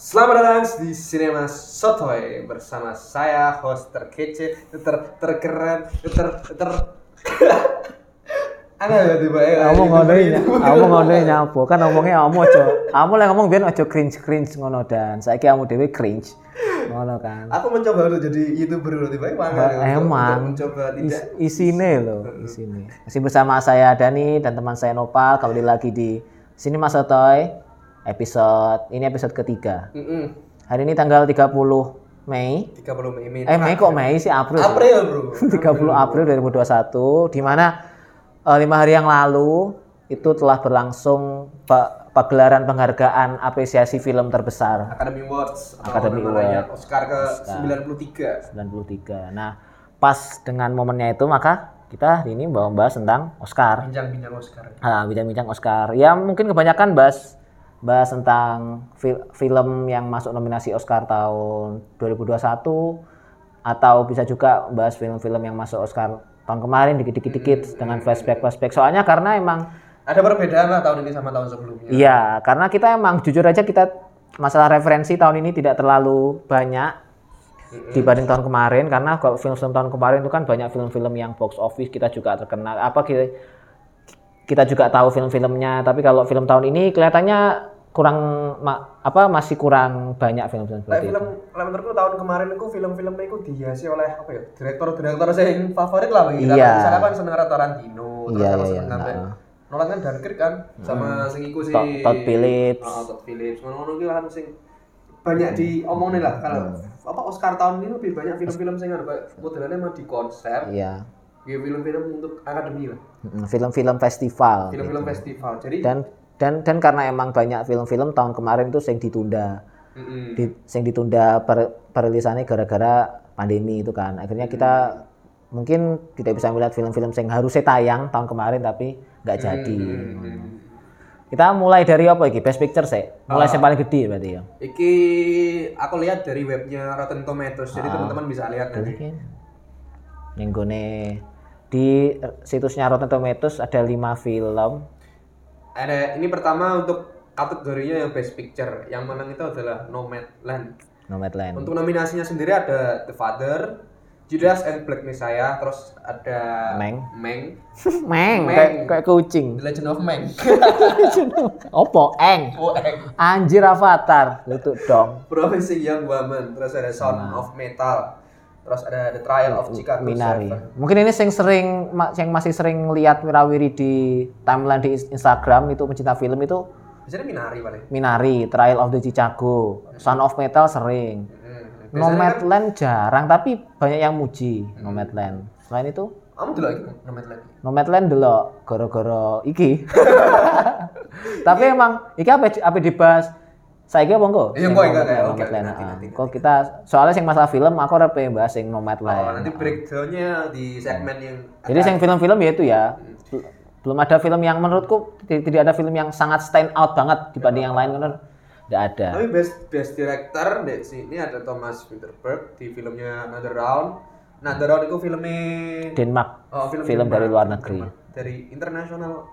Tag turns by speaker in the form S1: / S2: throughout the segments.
S1: Selamat datang di Cinema Sotoy bersama saya host terkece, ter terkeren, ter ter Ana ya tiba ya.
S2: Kamu ngonoin, kamu ngonoin nyambung kan ngomongnya kamu aja. Kamu lah ngomong biar aja cringe cringe ngono dan saya kamu dewe cringe ngono kan.
S1: Aku mencoba untuk jadi youtuber dulu tiba ya.
S2: Emang
S1: mencoba
S2: Is-
S1: tidak.
S2: isine loh, isine. Masih bersama saya Dani dan teman saya Nopal kembali lagi di sini Mas Sotoy episode ini episode ketiga.
S1: Heeh.
S2: Hari ini tanggal 30 Mei.
S1: 30 Mei. Mei.
S2: Eh Mei kok Mei sih April. sih.
S1: April, Bro.
S2: 30 April 2021 di mana eh, lima hari yang lalu itu telah berlangsung pe- pagelaran penghargaan apresiasi film terbesar
S1: Academy Awards atau
S2: Academy
S1: namanya
S2: Award.
S1: Oscar ke 93.
S2: 93. Nah, pas dengan momennya itu maka kita hari ini mau membahas tentang Oscar.
S1: Bincang-bincang Oscar.
S2: Ah, bincang-bincang Oscar. Ya mungkin kebanyakan bahas bahas tentang fil- film yang masuk nominasi Oscar tahun 2021 atau bisa juga bahas film-film yang masuk Oscar tahun kemarin dikit-dikit-dikit dengan flashback-flashback. Soalnya karena emang
S1: Ada perbedaan lah tahun ini sama tahun sebelumnya.
S2: Iya, karena kita emang jujur aja kita masalah referensi tahun ini tidak terlalu banyak dibanding tahun kemarin karena kalau film-film tahun kemarin itu kan banyak film-film yang box office kita juga terkenal apa kita kita juga tahu film-filmnya tapi kalau film tahun ini kelihatannya kurang ma- apa masih kurang banyak film-film
S1: Lah
S2: seperti itu.
S1: film lah menurutku tahun kemarin itu film-filmnya itu dihiasi oleh apa ya? Direktur-direktur yang favorit lah bagi kita.
S2: Iya.
S1: Misalnya aku kan seneng Tarantino, terus
S2: Iya,
S1: aku
S2: iya,
S1: seneng
S2: iya,
S1: sampai
S2: nah.
S1: Nolan kan Dunkirk kan sama sing iku sih.
S2: Todd- Todd Phillips. Hmm.
S1: Heeh, Todd Phillips. Ngono-ngono iki kan sing banyak diomongin lah kalau apa Oscar tahun ini lebih banyak film-film sing ada kayak modelannya emang di konser,
S2: Iya.
S1: ya film-film untuk akademi lah,
S2: Mm, Film-film festival. gitu.
S1: film-film festival. Jadi
S2: Dan dan dan karena emang banyak film-film tahun kemarin itu yang ditunda.
S1: mm-mm.
S2: di, sing ditunda per, perilisannya gara-gara pandemi itu kan akhirnya kita mungkin tidak bisa melihat film-film yang harusnya tayang tahun kemarin tapi nggak
S1: Hmm,
S2: jadi kita mulai dari apa iki best picture sih mulai yang paling gede berarti ya
S1: Iki aku lihat dari webnya Rotten Tomatoes,
S2: Ah.
S1: jadi teman-teman bisa lihat nanti.
S2: mungkin yang gone di situsnya Rotten Tomatoes ada lima film
S1: Ada ini pertama untuk kategorinya yang Best Picture, yang menang itu adalah Nomadland.
S2: Nomadland
S1: Untuk nominasinya sendiri ada The Father, Judas and Black Messiah, terus ada
S2: Meng.
S1: Meng,
S2: Meng,
S1: Meng.
S2: kayak, kayak kucing
S1: The Legend of Meng.
S2: opo eng
S1: Oh, eh.
S2: anjir avatar lutut dong
S1: Promising Young Woman, terus ada Sound of Metal, terus ada The Trial of Chicago
S2: Minari.
S1: Seven.
S2: Mungkin ini yang sering ma- yang masih sering lihat wirawiri di timeline di Instagram itu pencinta film itu
S1: Biasanya Minari paling.
S2: Minari, Trial of the Chicago, Son of Metal sering.
S1: Hmm. Biasanya kan, Hmm.
S2: Nomadland jarang tapi banyak yang muji Nomadland. Selain itu
S1: kamu dulu lagi Nomadland.
S2: Nomadland delok gara-gara iki. tapi emang iki apa ya, apa dibahas saiki apa engko?
S1: Iya,
S2: Sing
S1: engko, engko, engko. Oke,
S2: Nomadland.
S1: nanti, nanti,
S2: Kok kita soalnya yang masalah film aku ora pengen bahas yang
S1: Oh,
S2: Nomadland.
S1: nanti breakdownnya di segmen
S2: Nah.
S1: yang
S2: Jadi yang film-film ya itu ya. Bel- Belum ada film yang menurutku ti- tidak ada film yang sangat stand out banget dibanding yang lain kan enggak ada.
S1: tapi best best director di sini ada Thomas Winterberg di filmnya Another Round. Nah, Another Round itu filmnya
S2: Denmark
S1: oh, film,
S2: film dari luar negeri.
S1: dari internasional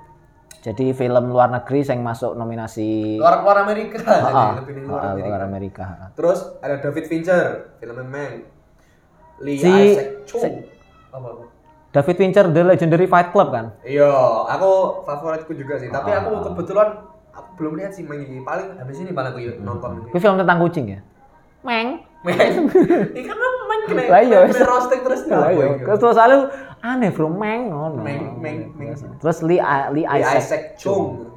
S2: Jadi film luar negeri yang masuk nominasi
S1: luar luar Amerika Oh, iya, jadi lebih dari luar
S2: Ah, luar
S1: Amerika.
S2: luar Amerika.
S1: Terus ada David Fincher filmnya Man. Lee
S2: Si-
S1: Isaac Chung. Apa apa?
S2: David Fincher The Legendary Fight Club kan?
S1: Iya, aku favoritku juga sih. Tapi
S2: Ah.
S1: aku kebetulan aku belum lihat sih Meng ini. Paling habis ini paling aku
S2: Hmm.
S1: nonton.
S2: Itu film tentang kucing ya? Meng.
S1: Meng. Ini kan Meng kena
S2: Lah iya,
S1: kena roasting terus
S2: Lah
S1: apa
S2: iya.
S1: ini?
S2: Terus soalnya aneh bro, Meng ngono.
S1: Meng Meng Meng
S2: Terus Lee, I-
S1: Lee
S2: Lee Iya, Isaac.
S1: Isaac Chung,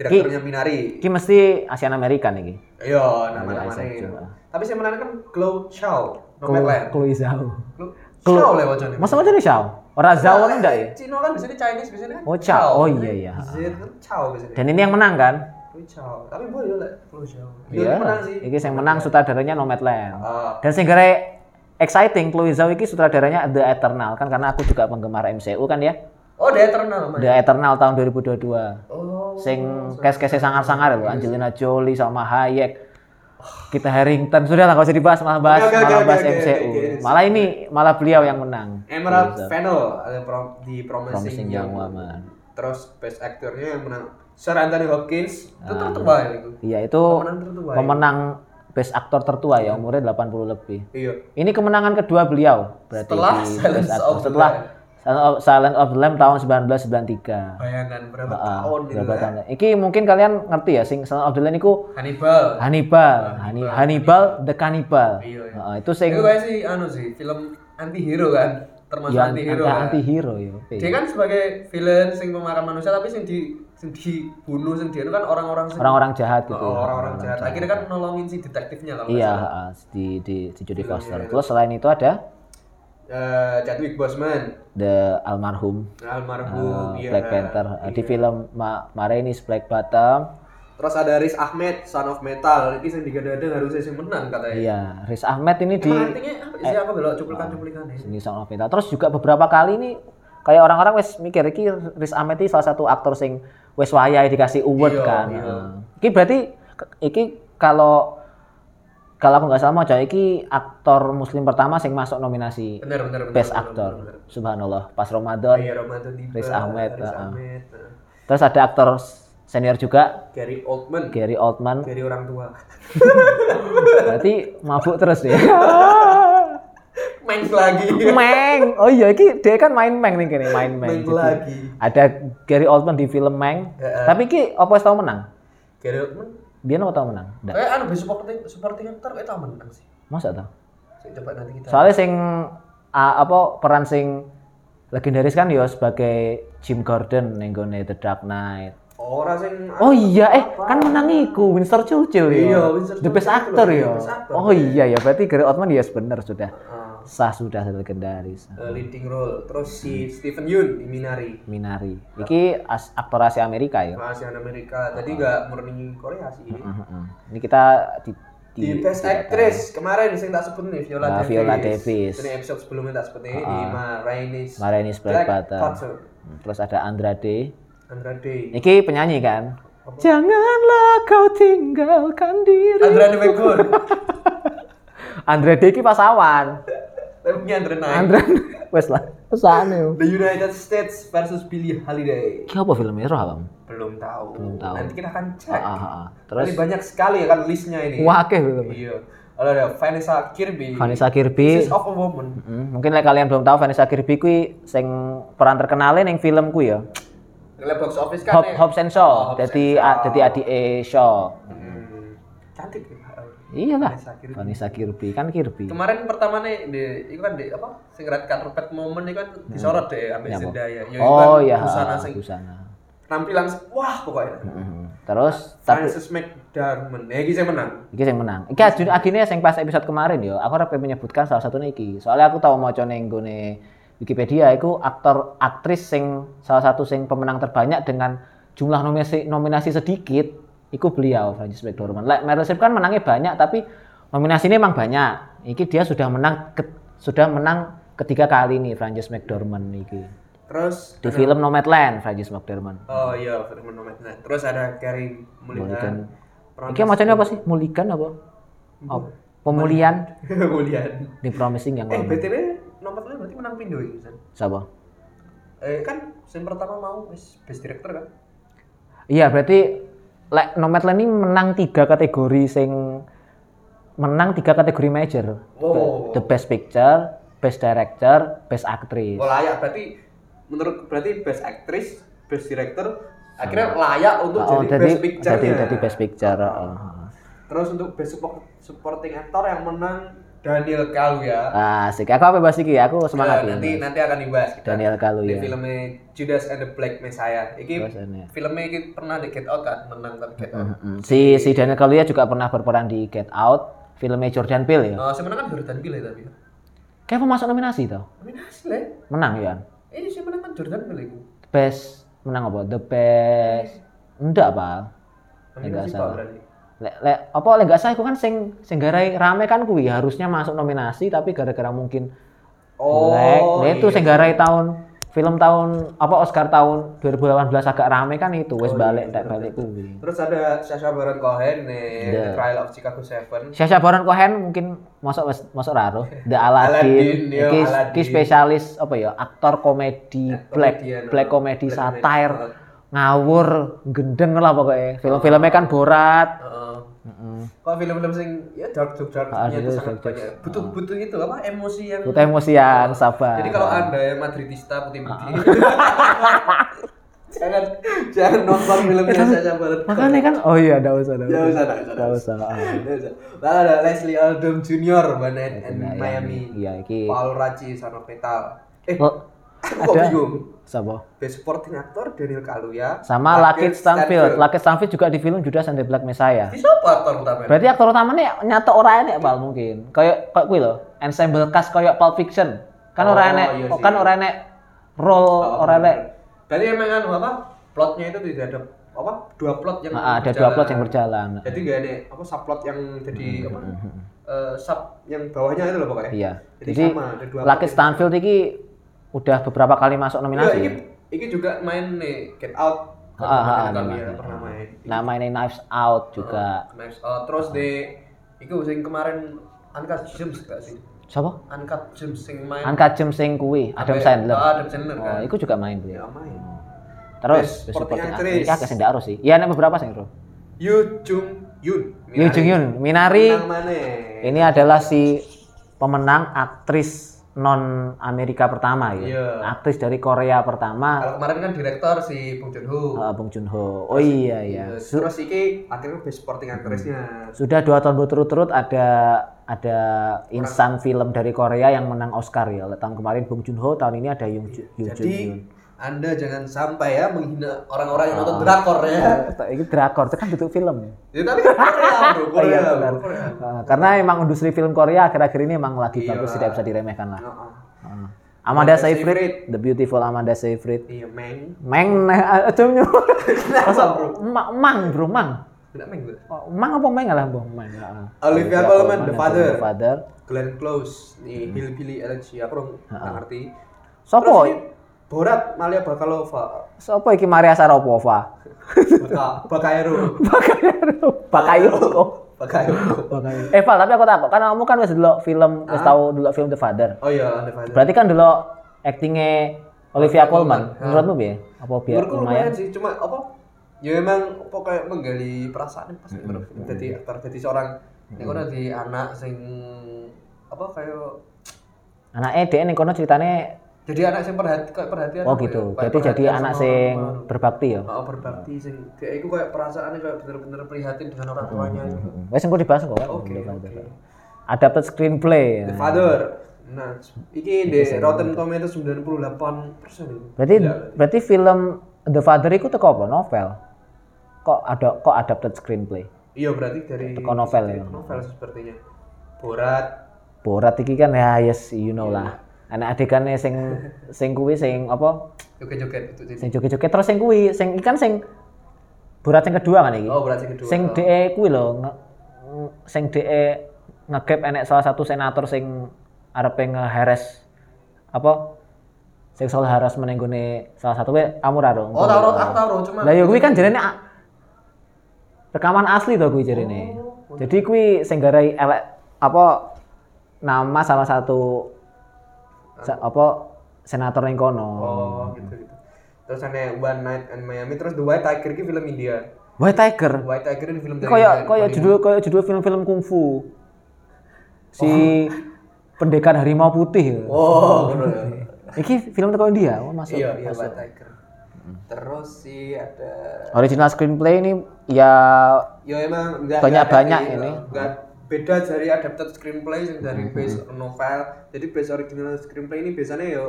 S1: direkturnya Minari.
S2: Ini mesti Asian American iki.
S1: Iya, nama-nama
S2: Isaac
S1: ini.
S2: Chung.
S1: Tapi saya menarik kan Glow Chow, Nomadland.
S2: Chloe Zhao.
S1: Glow Chow lewat Johnny.
S2: Masa macam ini Zhao? Orang Zhao kan enggak ya?
S1: Cino kan biasanya Chinese biasanya kan.
S2: Oh, Chow. Oh, iya, iya.
S1: Z kan Chow biasanya.
S2: Dan ini yang menang kan?
S1: Glow Chow. Tapi boleh lah Glow Chow.
S2: Iya.
S1: Iya, menang sih.
S2: Iki yang menang sutradaranya Nomadland.
S1: Ah,
S2: Dan sing gara exciting Chloe Zhao iki sutradaranya The Eternal kan karena aku juga penggemar MCU kan ya.
S1: Oh, dia eternal. Man.
S2: The Eternal tahun 2022.
S1: Oh.
S2: Sing kes-kese sangar-sangar loh Angelina Jolie sama Hayek. Kita Harrington sudah lah nggak usah dibahas malah bahas
S1: Oke, oke,
S2: malah
S1: oke,
S2: bahas
S1: oke, oke,
S2: MCU.
S1: oke.
S2: Malah ini malah beliau yang menang.
S1: Emerald Fennel ada prom- di Promising,
S2: Promising
S1: Young
S2: Young
S1: Woman.
S2: Woman.
S1: Terus best
S2: Ah.
S1: actornya yang menang Sir Anthony Hopkins. Itu tertua ya itu.
S2: Iya itu
S1: Pemenang tertua. ya.
S2: pemenang best aktor tertua ya umurnya 80 lebih.
S1: Iya.
S2: Ini kemenangan kedua beliau berarti
S1: Setelah
S2: di Best
S1: Silence
S2: Actor.
S1: of the
S2: setelah
S1: Lamb.
S2: Silence of, Silence of the Lamb tahun 1993.
S1: Bayangan berapa
S2: Ah,
S1: tahun gitu
S2: berapa
S1: ya.
S2: tahun? Iki mungkin kalian ngerti ya sing Silence of the Lamb iku
S1: Hannibal.
S2: Hannibal, Hani- Hannibal the Cannibal.
S1: Iya, iya.
S2: Ah, itu sing
S1: Itu kayak sih anu sih, film anti-hero kan. Termasuk
S2: ya
S1: anti-hero kan.
S2: anti hero ya.
S1: Dia kan sebagai villain sing pemarah manusia tapi sing di sing dibunuh sing dianu kan orang-orang sing-
S2: Orang-orang jahat gitu.
S1: Oh, orang-orang jahat. Akhirnya kan nolongin si detektifnya kalau nggak
S2: Iya,
S1: salah.
S2: ah, di di di Jodie Foster.
S1: iya.
S2: Terus selain itu ada
S1: Eh, Chadwick Boseman,
S2: The Almarhum
S1: almarhum, iya.
S2: Black Panther Ah, di film Ma Marainis Black Bottom.
S1: Terus ada Riz Ahmed, Son of Metal. Ini yang digadang-gadang harusnya sih menang katanya.
S2: Iya, Riz Ahmed ini di eh,
S1: Emang artinya apa sih? Aku belok cuplikan-cuplikan ya.
S2: sini Song of Metal. Terus juga beberapa kali ini kayak orang-orang wes mikir iki Riz Ahmed ini salah satu aktor sing wes wayahe dikasih award
S1: Iya,
S2: kan.
S1: iya.
S2: Nah, Iki berarti iki kalau kalau aku nggak salah mau iki aktor muslim pertama sing masuk nominasi
S1: Benar, benar, benar.
S2: Best
S1: benar,
S2: Actor.
S1: benar, benar.
S2: Subhanallah, pas Ramadan.
S1: Iya, Ramadan tiba.
S2: Riz Ahmed,
S1: Riz
S2: ah.
S1: Ahmed. ah.
S2: Terus ada aktor senior juga
S1: Gary Oldman,
S2: Gary Oldman.
S1: Gary orang tua.
S2: Berarti mabuk terus ya.
S1: Main lagi.
S2: Meng. Oh iya iki dia kan main Meng nih kene, main Meng.
S1: Main
S2: Jadi
S1: lagi.
S2: Ada Gary Oldman di film Meng.
S1: Heeh.
S2: Tapi iki apa wis tau menang?
S1: Gary Oldman.
S2: Biar apa tau menang? Nggak.
S1: Eh, anu best supporting supporting actor eh tahu menang sih.
S2: Masa tau?
S1: Saya Coba nanti kita.
S2: Soalnya sing ah, apa peran sing legendaris kan ya sebagai Jim Gordon yang nggone The Dark Knight.
S1: Orang sing
S2: Oh iya, eh kan menang iku Winston Churchill ya.
S1: Iya, Winston
S2: The Best
S1: Churchill
S2: Actor
S1: loh,
S2: ya.
S1: Best Actor.
S2: Oh iya ya, berarti Gary Oldman ya bener sudah.
S1: Ah,
S2: Sah sudah legendaris.
S1: eh, leading role. Terus si Stephen Yeun di Minari.
S2: Minari. Iki as, aktor Asia Amerika ya.
S1: Bahasa Amerika. Tadi nggak murni Korea sih ini.
S2: Heeh. Ini kita di,
S1: Di Best Actress kemarin sing tak sebut nih Viola
S2: Iya, Ah,
S1: Davis.
S2: Viola Davis.
S1: Ini episode sebelumnya tak sebut nih di Marainis.
S2: Marainis Black Bottom.
S1: Culture.
S2: Terus ada Andrade.
S1: Andrade.
S2: Iki penyanyi kan? Janganlah kau tinggalkan diri.
S1: Andrade Begun.
S2: Andrade iki pasawan.
S1: Tapi punya Andrade naik.
S2: Andrade wes lah. Pesane.
S1: The United States versus Billie Holiday.
S2: Iki apa filmnya roh kamu?
S1: Belum tahu.
S2: Belum tahu.
S1: Nanti kita akan cek.
S2: Ah, ah, ah. Terus
S1: Terus banyak sekali ya kan listnya ini.
S2: wakeh film.
S1: Iya. Lalu ada Vanessa Kirby.
S2: Vanessa
S1: This
S2: Kirby.
S1: is of a woman.
S2: Hmm, mungkin like kalian belum tahu Vanessa Kirby kuwi sing peran terkenalnya yang film kuwi ya.
S1: Nilai box office kan.
S2: Hob
S1: ya?
S2: Hobbs and
S1: Oh,
S2: Shaw.
S1: Hobbs
S2: Jadi
S1: and Shaw.
S2: jadi adike Shaw.
S1: Hmm. Cantik ya.
S2: Iyalah.
S1: Vanessa Kirby.
S2: Vanessa Kirby kan Kirby.
S1: Kemarin pertama nih di itu kan di apa? Sing red carpet moment itu kan disorot deh ambil
S2: Iya, Hmm. apa?
S1: Zendaya. Ya, itu
S2: Oh
S1: kan
S2: iya,
S1: Busana
S2: busana.
S1: sing tampilan sing- wah pokoknya.
S2: Mhm. Terus tapi
S1: Frances McDormand. Ya iki sing menang.
S2: iki yang menang. Iki ajun
S1: Iya.
S2: akhirnya yang pas episode kemarin yo, aku ora pengen menyebutkan salah satunya iki. Soalnya aku tahu maca ning nggone Wikipedia iku aktor aktris sing salah satu sing pemenang terbanyak dengan jumlah nominasi nominasi sedikit iku beliau Francis McDormand. Like Meryl Streep kan menangnya banyak tapi nominasinya emang banyak. Iki dia sudah menang ke- sudah menang ketiga kali nih Francis McDormand iki.
S1: Terus
S2: Di film Nomadland Francis McDormand.
S1: Oh iya, film nomad. Nah, terus ada Carrie Mulligan. Peran
S2: Iki macamnya apa sih? Mulikan apa? Oh, pemulihan
S1: Mulligan.
S2: di promising yang
S1: Eh,
S2: lama.
S1: BTW nomor lu berarti menang Pindo ya, San?
S2: Siapa?
S1: Eh, kan scene pertama mau wis best director kan?
S2: Iya, berarti like Nomadland ini menang tiga kategori sing menang tiga kategori major.
S1: Oh.
S2: The Best Picture, Best Director, Best Actress.
S1: Oh, layak berarti menurut berarti best actress, best director akhirnya layak untuk
S2: Oh,
S1: jadi,
S2: jadi
S1: best picture.
S2: jadi jadi Best Picture. oh.
S1: Terus untuk best support, supporting actor yang menang Daniel Kaluuya.
S2: Ah, asik. Aku apa bahas iki? Aku
S1: Eh,
S2: semangat ya.
S1: nanti nanti akan dibahas kita.
S2: Daniel iya.
S1: di
S2: Kaluuya.
S1: filmnya Judas and the Black Messiah. Iki
S2: Terus ini.
S1: filmnya iki pernah di Get Out kan, menang kan Get Out.
S2: Mm, Si si Daniel Kaluuya juga pernah berperan di Get Out, filmnya Jordan Peele ya.
S1: Eh, sebenarnya kan Jordan Peele tapi.
S2: Kayak masuk nominasi toh?
S1: Nominasi lah.
S2: Menang ya.
S1: Eh, sih menang kan Jordan Peele iku.
S2: The best menang apa? The best enggak apa?
S1: Nominasi
S2: salah.
S1: Pak berarti.
S2: Lek lek apa lek nggak salah iku kan sing sing garai rame kan kuwi harusnya masuk nominasi tapi gara-gara mungkin
S1: Oh,
S2: lek lek
S1: iya,
S2: itu sing garai tahun film tahun apa Oscar tahun 2018 agak rame kan
S1: Oh,
S2: itu
S1: iya,
S2: wes balik tak balik kuwi.
S1: Terus ada Sacha Baron Cohen nih,
S2: Ada.
S1: The Trial of Chicago Seven.
S2: Sacha Baron Cohen mungkin masuk wes- masuk raro. The Aladdin,
S1: Aladdin, yo,
S2: iki,
S1: Aladdin.
S2: iki spesialis apa ya aktor komedi black
S1: komedian,
S2: black
S1: oh,
S2: komedi
S1: black
S2: satire ngawur gendeng lah pokoknya film-filmnya kan Borat
S1: Heeh.
S2: Mm-mm.
S1: Kok film-film sing ya dark joke dark
S2: Ah,
S1: itu
S2: dark
S1: sangat
S2: joke,
S1: banyak.
S2: dark.
S1: Butuh butuh itu apa emosi yang
S2: Butuh emosian, sabar.
S1: Jadi kalau Anda yang madridista putih-putih.
S2: Ah.
S1: jangan jangan nonton film yang saya sabar.
S2: Iya. Makanya kan, oh iya, enggak usah, enggak
S1: Ya
S2: usah.
S1: usah, nggak usah.
S2: Enggak usah.
S1: Nggak
S2: ah.
S1: usah. Lalu Nah, ada Leslie Odom Junior, One Night in
S2: Nah, yang-
S1: Miami.
S2: Iya, iki.
S1: Paul Raci, Sano Petal. Eh,
S2: Oh,
S1: aku kok
S2: ada.
S1: bingung.
S2: Sapa?
S1: Best Supporting Actor Daniel Kaluuya.
S2: Sama Lucky Stanfield.
S1: Laki
S2: Lucky Stanfield juga di film Judas and the Black Messiah.
S1: siapa aktor utama?
S2: Berarti aktor utamanya nyata orang enek Pal mungkin. Kayak kayak kuwi lho, ensemble cast kayak Pulp Fiction. Kan
S1: Oh,
S2: orang enek,
S1: iya sih. Oh, iya.
S2: kan orang enek role orang enek.
S1: Jadi emang anu apa? Plotnya itu tidak ada apa? Dua plot yang
S2: Ah, ada dua
S1: berjalan.
S2: plot yang berjalan. Hmm. Mhm,
S1: Jadi gak ada apa subplot yang jadi apa? Eh, sub yang bawahnya itu loh pokoknya.
S2: Iya.
S1: Jadi
S2: Jadi
S1: sama, ada dua
S2: Lucky
S1: plot yang-
S2: Stanfield iki udah beberapa kali masuk
S1: Iya, ini
S2: nominasi.
S1: ini juga main nih Get Out.
S2: Ah, ah, ah,
S1: Kami
S2: iya,
S1: ya,
S2: iya.
S1: pernah main.
S2: Nah, mainnya Knives Out juga.
S1: Knives Out. Oh, Terus di iku sing kemarin Uncut Gems gak sih?
S2: Siapa?
S1: Uncut Gems sing main.
S2: Angkat Jim Sing kuwi, Adam
S1: Sampai-
S2: Sandler.
S1: Ah, Adam Sandler kan.
S2: Oh, itu juga main beliau.
S1: Ya, main.
S2: Terus
S1: Best
S2: supporting
S1: supporting
S2: actress.
S1: actress.
S2: Ya, kasih ndak harus sih. Iya, ada beberapa sih, Bro.
S1: Yoo Jung Yoon.
S2: Yoo Jung Yoon, Minari.
S1: Menang maneh.
S2: Ini adalah si pemenang aktris non Amerika pertama ya.
S1: Iya.
S2: Aktris dari Korea pertama
S1: Kalau kemarin kan direktor si Bong Joon Ho.
S2: eh, Bong Joon Ho. Oh iya Hmm. ya.
S1: Terus terus iki akhirnya best supporting actress-nya.
S2: Sudah dua tahun berturut-turut ada ada insan film dari Korea yang menang Oscar ya. Tahun kemarin Bong Joon Ho, tahun ini ada Yung Ju- Yoo Jung Oh. Yoon.
S1: Jadi Anda jangan sampai ya menghina orang-orang yang nonton drakor ya.
S2: Ini drakor, itu kan bentuk film.
S1: Ya tapi Korea, bro,
S2: Oh,
S1: Korea,
S2: iya, benar.
S1: bro, Korea.
S2: Eh, Karena emang industri film Korea akhir-akhir ini emang lagi
S1: Iya.
S2: bagus tidak bisa diremehkan lah.
S1: Heeh.
S2: Eh, Amanda,
S1: Amanda
S2: Seyfried,
S1: Seyfried.
S2: The Beautiful Amanda Seyfried.
S1: Iya, Meng.
S2: Meng nah, aja nyu.
S1: Kenapa, bro?
S2: Ma- Mang, Bro, Mang.
S1: Tidak Meng, bro.
S2: Oh, Mang apa Meng lah, Bang? Meng. ah. heeh.
S1: Olivia Colman, The
S2: atau
S1: Father.
S2: The Father.
S1: Glenn Close,
S2: Hmm.
S1: nih Hillbilly Elegy, aku dong nggak ngerti.
S2: Sopo?
S1: Terus ini Borat, Malia Bakalova,
S2: Sopo iki Maria Sarapova?
S1: Baka, Bakaero,
S2: Bakayoko.
S1: Bakaero.
S2: Eh, Val, tapi aku takut karena kamu kan wis delok film, wis tau delok film The Father.
S1: Oh iya, Anda Father.
S2: Berarti kan delok aktingnya Olivia Colman. Menurutmu piye? Apa biar
S1: Menurutku
S2: ya, lumayan?
S1: lumayan sih, cuma apa? Ya emang apa kayak menggali perasaan pas
S2: Hmm,
S1: menurut film. Jadi aktor, jadi seorang ini kan jadi anak sing apa kayak
S2: Anaknya dia ning kono ceritane
S1: jadi anak sing perhati kayak perhatian.
S2: oh
S1: apa ya?
S2: gitu.
S1: Kayak
S2: Berarti jadi
S1: perhatian
S2: anak
S1: sama
S2: sing
S1: orang tua.
S2: berbakti ya.
S1: Oh, berbakti sing dia itu kayak perasaannya kayak bener-bener prihatin dengan
S2: Hmm,
S1: orang tuanya.
S2: Wes engko dibahas kok. kan?
S1: Oke,
S2: The Father.
S1: oke.
S2: Adapted screenplay. ya.
S1: The Father. Nah, iki di Rotten Tomatoes 98 persen. Iya,
S2: Berarti berarti film The Father itu teko apa novel? Kok ada kok adapted screenplay?
S1: Iya berarti dari
S2: Teko novel ya.
S1: novel sepertinya. Borat.
S2: Borat iki kan ya yes you know
S1: Iya.
S2: lah. Anak adegannya sing sing kuwi sing apa?
S1: Joget-joget gitu itu jadi.
S2: Sing joget-joget terus sing kuwi sing iki kan sing Borat yang kedua kan iki.
S1: Oh, Borat sing kedua.
S2: Sing DE kuwi lho nge- nge- sing DE ngegap enek salah satu senator sing arepe ngeheres apa? Seksual harassment yang gune salah satu we amur aro.
S1: Oh, tau aku tau Ro, cuma
S2: Lah ya kuwi kan jarene a- rekaman asli to kuwi
S1: Oh,
S2: jarene. Jadi kuwi sing garai elek apa nama salah satu sa- apa senator ning kono.
S1: Oh, gitu gitu. Terus ada One Night in Miami, terus The White Tiger ki film India.
S2: White
S1: The
S2: Tiger.
S1: White Tiger ini film dari
S2: Kaya
S1: India.
S2: kaya judul kaya judul film-film kungfu. Si pendekar harimau putih. ya.
S1: Oh, bro.
S2: Iki film teko India, oh, masuk. Hmm.
S1: Iya, iya White Tiger. Terus sih ada
S2: Original screenplay ini ya
S1: Ya emang enggak
S2: Banyak-banyak
S1: enggak ada-
S2: ini. Hmm.
S1: Enggak beda dari adapted screenplay yang dari base novel. Jadi base original screenplay ini biasanya ya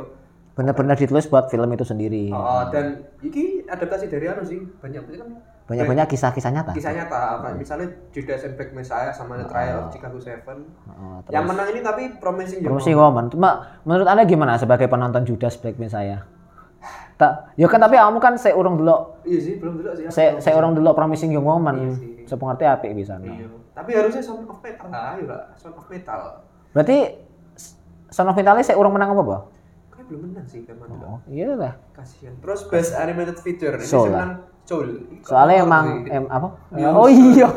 S2: benar-benar ditulis buat film itu sendiri.
S1: oh, dan iki adaptasi dari anu sih banyak banyak kan
S2: Banyak-banyak kisah-kisah nyata.
S1: kisah nyata apa misalnya Judas and Black Messiah sama The Trial of Chicago Seven.
S2: Oh,
S1: Yang menang ini tapi promising juga.
S2: Ah. Promising Woman. Cuma menurut Anda gimana sebagai penonton Judas Black Messiah? Tak, ya kan tapi kamu kan saya urung dulu,
S1: Iya sih belum dulu sih.
S2: saya saya urung dulu Promising Young Woman.
S1: sih.
S2: Sepengerti apik bisa. no.
S1: Iya. Tapi harusnya Sound of Metal lah, ya Pak. Sound of Metal.
S2: Berarti Son of Metal saya urung menang apa, Pak?
S1: Kayak belum menang sih teman dulu.
S2: Oh, iya lah.
S1: Kasihan. Terus Best Animated Feature ini
S2: Soul
S1: sih
S2: lah.
S1: menang Soul.
S2: Soalnya emang em, apa? Oh iya.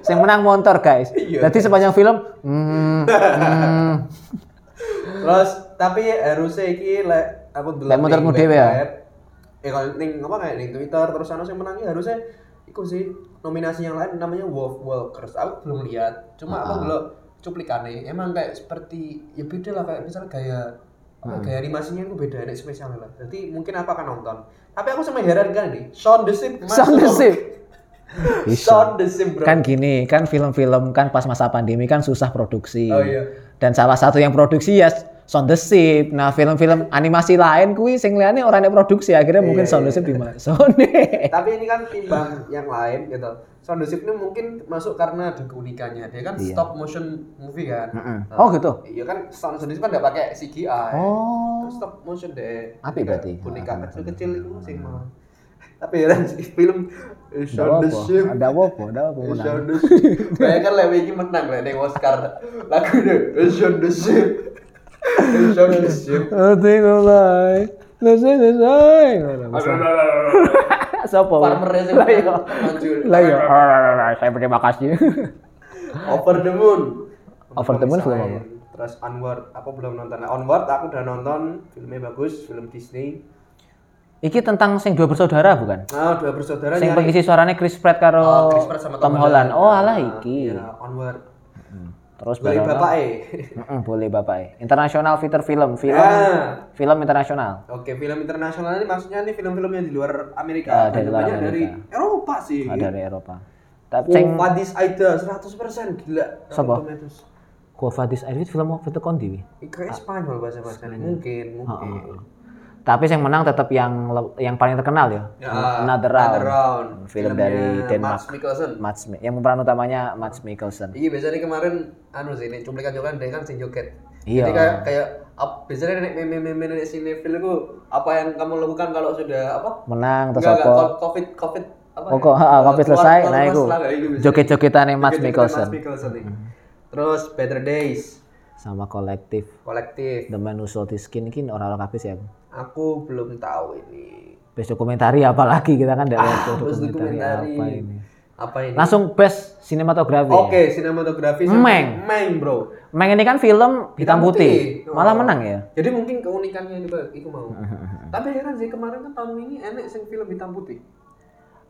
S2: Saya menang motor, guys.
S1: Iya.
S2: Jadi sepanjang film hmm, hmm.
S1: Terus tapi harusnya iki lek aku delok
S2: Lek mutermu
S1: ning
S2: dhewe ya?
S1: website, Eh kalau ning apa kayak ning Twitter terus anu sing menangi harusnya Iku sih nominasi yang lain namanya Wolf Walkers. Aku belum lihat. Cuma aku
S2: Ah.
S1: belum cuplikannya. Emang kayak seperti ya beda lah kayak misalnya gaya apa,
S2: Hmm.
S1: gaya animasinya itu beda nek spesial lah. Jadi mungkin aku akan nonton. Tapi aku sama heran kan nih. Sound the Sip. masuk.
S2: Sound the Sip.
S1: Sound the Sip, bro.
S2: kan gini kan film-film kan pas masa pandemi kan susah produksi
S1: Oh, iya.
S2: dan salah satu yang produksi ya Sound the Ship. Nah, film-film animasi lain kuwi sing liyane ora nek produksi akhirnya mungkin
S1: Iya,
S2: Sound the
S1: iya.
S2: Ship dimasone.
S1: Tapi ini kan timbang yang lain gitu. Sound the Sip ini mungkin masuk karena ada keunikannya. Dia kan
S2: Iya.
S1: stop motion movie kan. Nah,
S2: Oh, gitu.
S1: Iya kan sound the Sip kan nggak pakai CGI.
S2: Oh.
S1: Terus stop motion deh.
S2: Apik berarti.
S1: Boneka
S2: Ah,
S1: kecil-kecil itu sih mau. Tapi heran sih film eh, Sound the Ship. Iya,
S2: Ada apa? Ada apa menang?
S1: Sound the Ship. Bayangkan lewe iki menang lah ning Oscar. Lagu deh Sound the Ship. Sound the Ship.
S2: Ati mulai. Lesai lesai. Sopo?
S1: Farmer sing
S2: Lah iya.
S1: maju.
S2: Lah iya. Alright, Saya berterima kasih.
S1: Over the Moon.
S2: Over the Moon film apa?
S1: Terus Onward, aku belum nonton. Nah, Onward aku udah nonton, filmnya bagus, film Disney.
S2: Iki tentang sing dua bersaudara bukan?
S1: Nah, dua bersaudara nyari-
S2: Sing pengisi suaranya Chris
S1: Oh,
S2: Pratt karo
S1: Chris Pratt sama
S2: Tom Holland. Oh, alah iki. Hmm.
S1: Iya, Onward.
S2: Terus
S1: Beli
S2: barang-
S1: bapak eh.
S2: Mm-mm, boleh Bapak. eh. Internasional feature film, film
S1: Ah.
S2: film internasional.
S1: Oke, film internasional ini maksudnya nih film-film yang di luar
S2: Ah,
S1: Amerika.
S2: dari
S1: Ada
S2: luar
S1: banyak
S2: Amerika.
S1: dari Eropa sih.
S2: Ada dari Eropa. Tapi sing
S1: Oh, Fadis Aida 100% gila.
S2: Siapa?
S1: Rotten Tomatoes.
S2: Gua Fadis Aidit film waktu itu kondi. wi.
S1: Kira Spanyol bahasa bahasa mungkin mungkin.
S2: Ah, Tapi yang menang tetap yang le- yang paling terkenal ya.
S1: Ya,
S2: Another Round.
S1: Round.
S2: Film
S1: Filmnya
S2: dari Denmark.
S1: Mads Mikkelsen.
S2: Mads Mi- yang pemeran utamanya Mads Mikkelsen.
S1: Iya, biasanya kemarin anu sih ini cuplikan cuplikan dia kan sing joget.
S2: Iya.
S1: Jadi kayak kayak ap- biasanya nek meme-meme nek sinetron itu apa yang kamu lakukan kalau sudah apa?
S2: Menang terus
S1: Enggak, enggak,
S2: apa?
S1: covid covid apa? ya?
S2: Pokok heeh covid selesai nah iku.
S1: gitu Joget
S2: Joget-jogetane Mads Mikkelsen Hmm.
S1: Terus Better Days
S2: sama kolektif
S1: kolektif.
S2: The Man Who Sold His Skin ini orang-orang kabeh sih aku.
S1: Aku belum tahu ini.
S2: Best dokumentari apalagi kita kan dari
S1: Terus
S2: dokumentari
S1: Ah, dokumentari
S2: apa ini.
S1: Apa ini?
S2: Langsung best sinematografi. ya?
S1: Oke, sinematografi sama-
S2: Meng.
S1: Meng, Bro.
S2: Meng ini kan film hitam,
S1: Hitam
S2: putih.
S1: putih.
S2: Malah
S1: Oh.
S2: menang ya.
S1: Jadi mungkin keunikannya itu iku mau. Tapi heran sih kemarin kan tahun ini enek sing film hitam putih.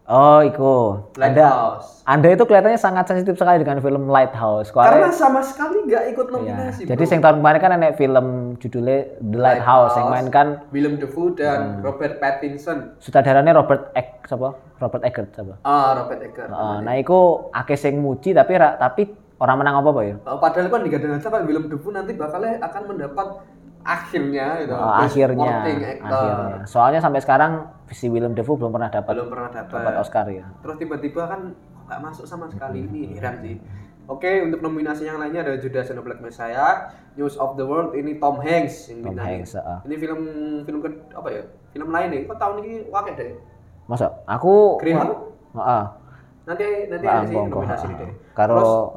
S2: Oh, iku. Anda
S1: Lighthouse.
S2: Anda itu kelihatannya sangat sensitif sekali dengan film Lighthouse.
S1: Karena
S2: Karena
S1: sama sekali nggak ikut
S2: ya.
S1: nominasi.
S2: Jadi yang tahun kemarin kan ada film judulnya The Lighthouse, yang main kan
S1: Willem Dafoe
S2: Hmm.
S1: dan Robert Pattinson.
S2: sutradaranya Robert Egg, siapa? Robert Eggert, siapa?
S1: Ah, Robert Eggers.
S2: Eh, nah, iku akeh sing muji tapi ra- tapi orang menang apa apa ya?
S1: Uh, padahal kan digadang-gadang Pak Willem Dafoe nanti bakalnya akan mendapat akhirnya gitu.
S2: Eh,
S1: Best
S2: akhirnya,
S1: Supporting Actor.
S2: akhirnya. Soalnya sampai sekarang si Willem Dafoe belum pernah dapat
S1: Belum pernah dapat.
S2: dapat Oscar ya.
S1: Terus tiba-tiba kan nggak masuk sama sekali ini heran sih. Oke, untuk nominasi yang lainnya ada Judas and the Black Messiah, News of the World ini Tom Hanks yang
S2: Tom
S1: bintangin.
S2: Hanks, heeh.
S1: Ini film film ke, apa ya? Film lain nih. Kok tahun ini wakai deh.
S2: Masa aku
S1: Green
S2: Wah,
S1: Book?
S2: heeh.
S1: Nanti nanti
S2: Ah,
S1: ada sih
S2: Bong Joon-ho.
S1: nominasi ini deh. Terus
S2: Karo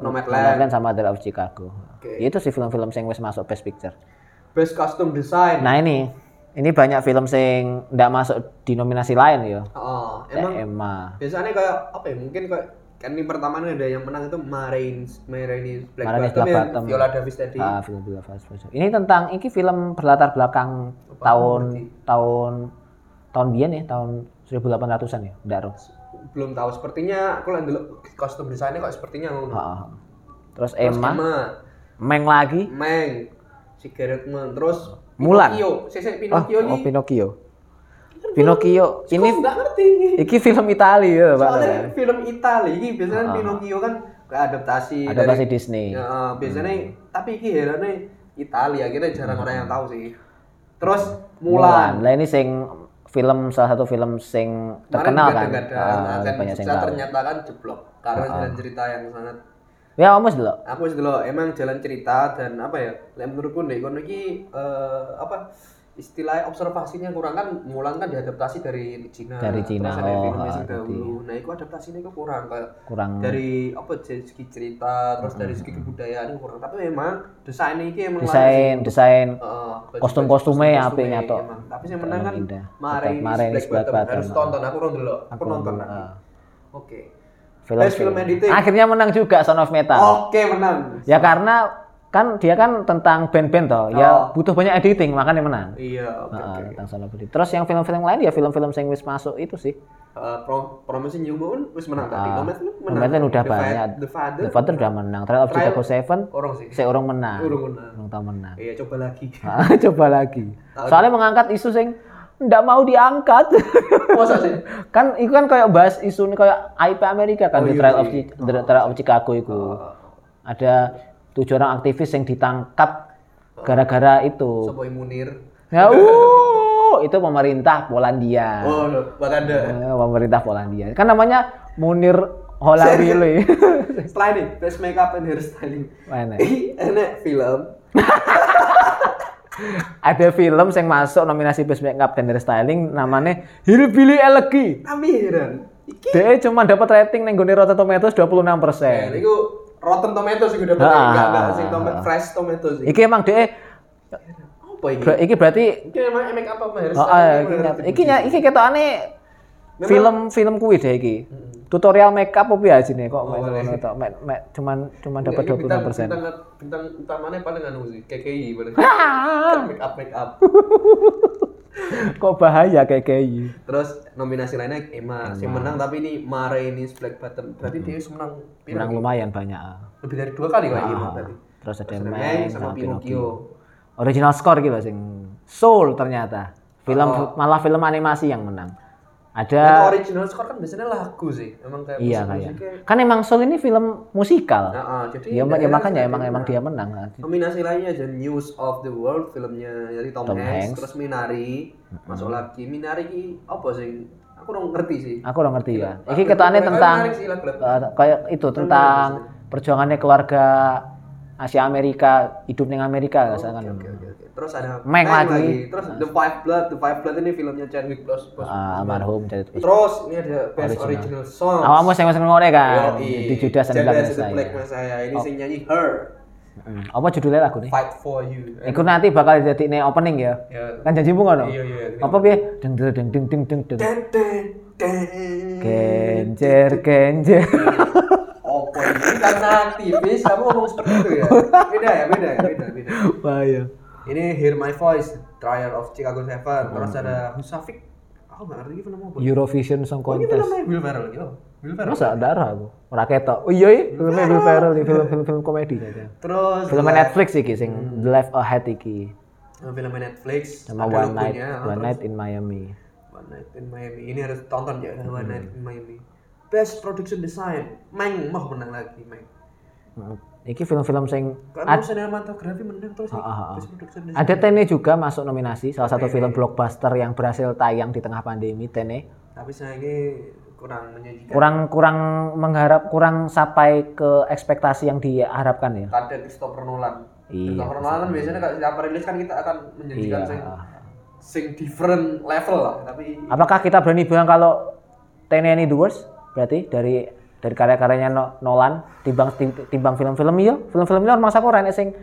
S1: Nomadland,
S2: Nomadland sama The Love of Chicago.
S1: Oke.
S2: Ya Itu sih film-film sing wis masuk Best Picture.
S1: Best Costume Design.
S2: Nah ini, ini banyak film sing ndak masuk di nominasi lain ya.
S1: Oh, emang
S2: Kayak Emma.
S1: biasanya kayak apa ya mungkin kayak kan ini pertama nih ada yang menang itu Marines Marines Black
S2: Marines
S1: Bottom,
S2: Black
S1: yang
S2: Bottom.
S1: Viola Davis tadi
S2: Ah, film film Fast Forward. Ini tentang ini film berlatar belakang tahun tahun tahun biyen ya, tahun 1800-an ya, ndak roh.
S1: belum tahu sepertinya aku lihat dulu kostum desainnya kok sepertinya ngono
S2: Heeh.
S1: Terus
S2: Terus Emma, Meng lagi,
S1: Meng Cigarette Man terus
S2: Mulan.
S1: Pinocchio sese
S2: oh,
S1: Pinocchio
S2: oh
S1: ini
S2: Pinocchio. Pinocchio
S1: ini
S2: ini
S1: nggak ngerti
S2: iki film Italia ya, Pak.
S1: soalnya film Itali ini biasanya
S2: Ah.
S1: kan Pinocchio kan kayak adaptasi
S2: Ada
S1: dari-
S2: pasti Disney.
S1: Ya, eh, biasanya
S2: Hmm.
S1: tapi ini herannya Italia akhirnya jarang orang yang tahu sih terus Mulan
S2: Mulan. Lah ini sing film salah satu film sing terkenal kan. Ah,
S1: akan
S2: banyak yang
S1: sukses
S2: tahu. Ah.
S1: ternyata kan jeblok karena jalan cerita yang sangat
S2: Ya almost dulu.
S1: aku wis dulu emang jalan cerita dan apa ya lek menurutku nih kono iki eh, apa istilah observasinya kurang kan mulan kan diadaptasi dari Cina
S2: Dari Cina,
S1: terus ada
S2: oh,
S1: filmnya
S2: ah,
S1: sing
S2: jadi. Hmm.
S1: dahulu nah itu adaptasinya itu kurang kayak
S2: kurang
S1: dari apa dari segi cerita terus dari segi kebudayaan itu kurang tapi memang desainnya iki emang
S2: Hmm, desain desain
S1: uh,
S2: Kostum-kostumnya apik nyato.
S1: tapi yang menang kan
S2: Indah.
S1: Marenis,
S2: Marenis,
S1: Black,
S2: Black
S1: Bottom.
S2: Bottom.
S1: harus tonton aku nonton dulu aku
S2: Aku
S1: nonton
S2: nonton,
S1: nanti.
S2: ah.
S1: oke
S2: film,
S1: Best film editing. Oh.
S2: Akhirnya menang juga Son of Metal.
S1: Oke menang.
S2: Ya karena kan dia kan tentang band-band toh, ya
S1: Oh.
S2: butuh banyak editing makanya menang.
S1: Iya. Oke.
S2: Ah,
S1: oke.
S2: tentang Son of Metal. Terus yang film-film lain ya film-film yang wis masuk itu sih.
S1: uh, Pro- Promising Young Woman wis menang tadi.
S2: Ah.
S1: Komet lu menang.
S2: Komet kan udah
S1: The Fa-
S2: banyak.
S1: The Father.
S2: The Father udah menang. Trial of
S1: Trial-
S2: Chicago Seven,
S1: Orang sih.
S2: saya orang menang.
S1: Orang menang.
S2: Orang tau menang.
S1: Iya, coba lagi.
S2: Ah, Coba lagi. Soalnya mengangkat isu sing ndak mau diangkat.
S1: Masa sih?
S2: kan itu kan kayak bahas isu ini kayak IP Amerika kan
S1: Oh,
S2: di
S1: iya,
S2: Trial
S1: iya. Oh.
S2: of Chi- The Trial of Chicago itu. Ada tujuh orang aktivis yang ditangkap gara-gara itu.
S1: Sopo Munir.
S2: Ya, uh, itu pemerintah Polandia.
S1: Oh, no. Wakanda.
S2: Eh, pemerintah Polandia. Kan namanya Munir Holawili.
S1: Setelah ini, face makeup and hairstyling.
S2: Mana?
S1: Ih, enak film.
S2: Ada film yang masuk nominasi Best Makeup dan Hairstyling namanya Hillbilly Elegy.
S1: Amiran. Iki.
S2: DE cuma dapat rating ning gone Rotten Tomatoes 26%.
S1: Nah, Ini ku Rotten Tomatoes sih udah
S2: Ah.
S1: betul enggak enggak sing tomat fresh tomatoes sih.
S2: Iki emang DE
S1: Apa iki?
S2: ber- iki berarti
S1: Iki emang make up apa
S2: Oh, ah,
S1: hairstyling?
S2: iki nyat- iki nya- iki ketokane
S1: Memang- Hmm.
S2: film film kuwi deh iki. Tutorial makeup opo ya ajine kok mek
S1: Oh,
S2: ngono
S1: iya.
S2: tok. Mek mek cuman cuman dapat
S1: Ini bintang-
S2: 26%.
S1: Bintang bintang utamanya paling anu sih, KKI paling.
S2: Ah,
S1: make up make up.
S2: kok bahaya kayak kayak
S1: Terus nominasi lainnya Emma,
S2: Eh,
S1: yang menang tapi ini Mare ini Black Button. Berarti dia menang pira?
S2: Hmm. menang lumayan banyak.
S1: lebih dari dua kali kayak Emma
S2: Ah,
S1: berarti.
S2: Terus ada
S1: Terus ada
S2: Meg
S1: Meg sama Pinocchio.
S2: original score gitu sing Soul ternyata film
S1: Oh.
S2: malah film animasi yang menang
S1: Itu
S2: ada
S1: original score kan biasanya lagu sih. Emang kayak
S2: Ya. iya
S1: musik-musiknya-
S2: kayak kan emang Soul ini film
S1: Nah,
S2: musikal
S1: iya, ah, jadi
S2: ya, ma- ya
S1: daerah
S2: makanya
S1: sih
S2: emang
S1: ada
S2: emang
S1: yang
S2: dia menang Nah, gitu.
S1: menang. Nominasi lainnya ada News of the World filmnya dari Tom,
S2: Tom
S1: Hanks,
S2: Hanks.
S1: terus Minari masuk lagi Minari ki apa sih? Aku kurang ngerti sih.
S2: aku udah ngerti ya
S1: Lagu-
S2: ini ketane
S1: lagu-
S2: tentang
S1: Minari sih, lagu-lagu.
S2: eh, kayak itu tentang perjuangannya keluarga Asia Amerika hidup di Amerika nggak salah kan
S1: Oh, Oke, oke, oke. Terus ada
S2: Meg lagi.
S1: Terus The Five Blood, The Five Blood ini filmnya Chadwick Bos- Bos-
S2: Ah, almarhum jadi
S1: Terus ini ada Best Original, Song.
S2: awakmu sing sing ngene kan
S1: Yoi.
S2: di Judas
S1: Judas
S2: and the Black
S1: and the Black
S2: Messiah Oh.
S1: Messiah. Ini sing nyanyi Her,
S2: Mm. apa judulnya lagu nih
S1: Fight for You.
S2: Iku nanti bakal jadi opening ya
S1: Ya.
S2: kan janjimu ngono
S1: Iya, iya.
S2: apa piye deng deng deng deng deng deng deng
S1: Ten, ten, ten.
S2: genjer genjer
S1: Opo ini karena aktivis kamu ngomong seperti itu ya? Beda ya, beda ya, beda, beda.
S2: wah ya
S1: Ini Hear My Voice, Trial of Chicago Seven, terus
S2: Oh, iya.
S1: ada Husafik. Aku nggak ngerti ini film apa.
S2: Eurovision Song
S1: Ini
S2: Contest
S1: filmnya Will Ferrell, yo. Will Ferrell.
S2: masa darah aku ora ketok oh iya iya filmnya Will Ferrell nih film film film komedi aja
S1: Terus
S2: film
S1: ada-
S2: Netflix iki sing The Left Ahead iki
S1: film Oh, Netflix Hmm. ada
S2: sama One Night
S1: logonya,
S2: One
S1: terus
S2: Night in Miami
S1: One Night in Miami. Ini harus tonton ya One
S2: Hmm.
S1: Night in Miami. Best Production Design, Meng mau menang lagi, Meng.
S2: Mm. iki film-film sing
S1: Kamu sinematografi menang terus ini, Best Production Design.
S2: ada Tene juga masuk nominasi salah satu film blockbuster yang berhasil tayang di tengah pandemi Tene
S1: Tapi saya ini kurang menyajikan
S2: kurang kurang mengharap kurang sampai ke ekspektasi yang diharapkan ya
S1: ada Christopher Nolan.
S2: Iya,
S1: Christopher Nolan kan biasanya kalau setiap rilis kan kita akan menyajikan
S2: Iya.
S1: sing sing different level lah, tapi
S2: Apakah kita berani bilang kalau Tene ini the worst? Berarti dari dari karya-karyanya No- Nolan timbang tim- timbang film-film iya, film-film ini masa aku rene sing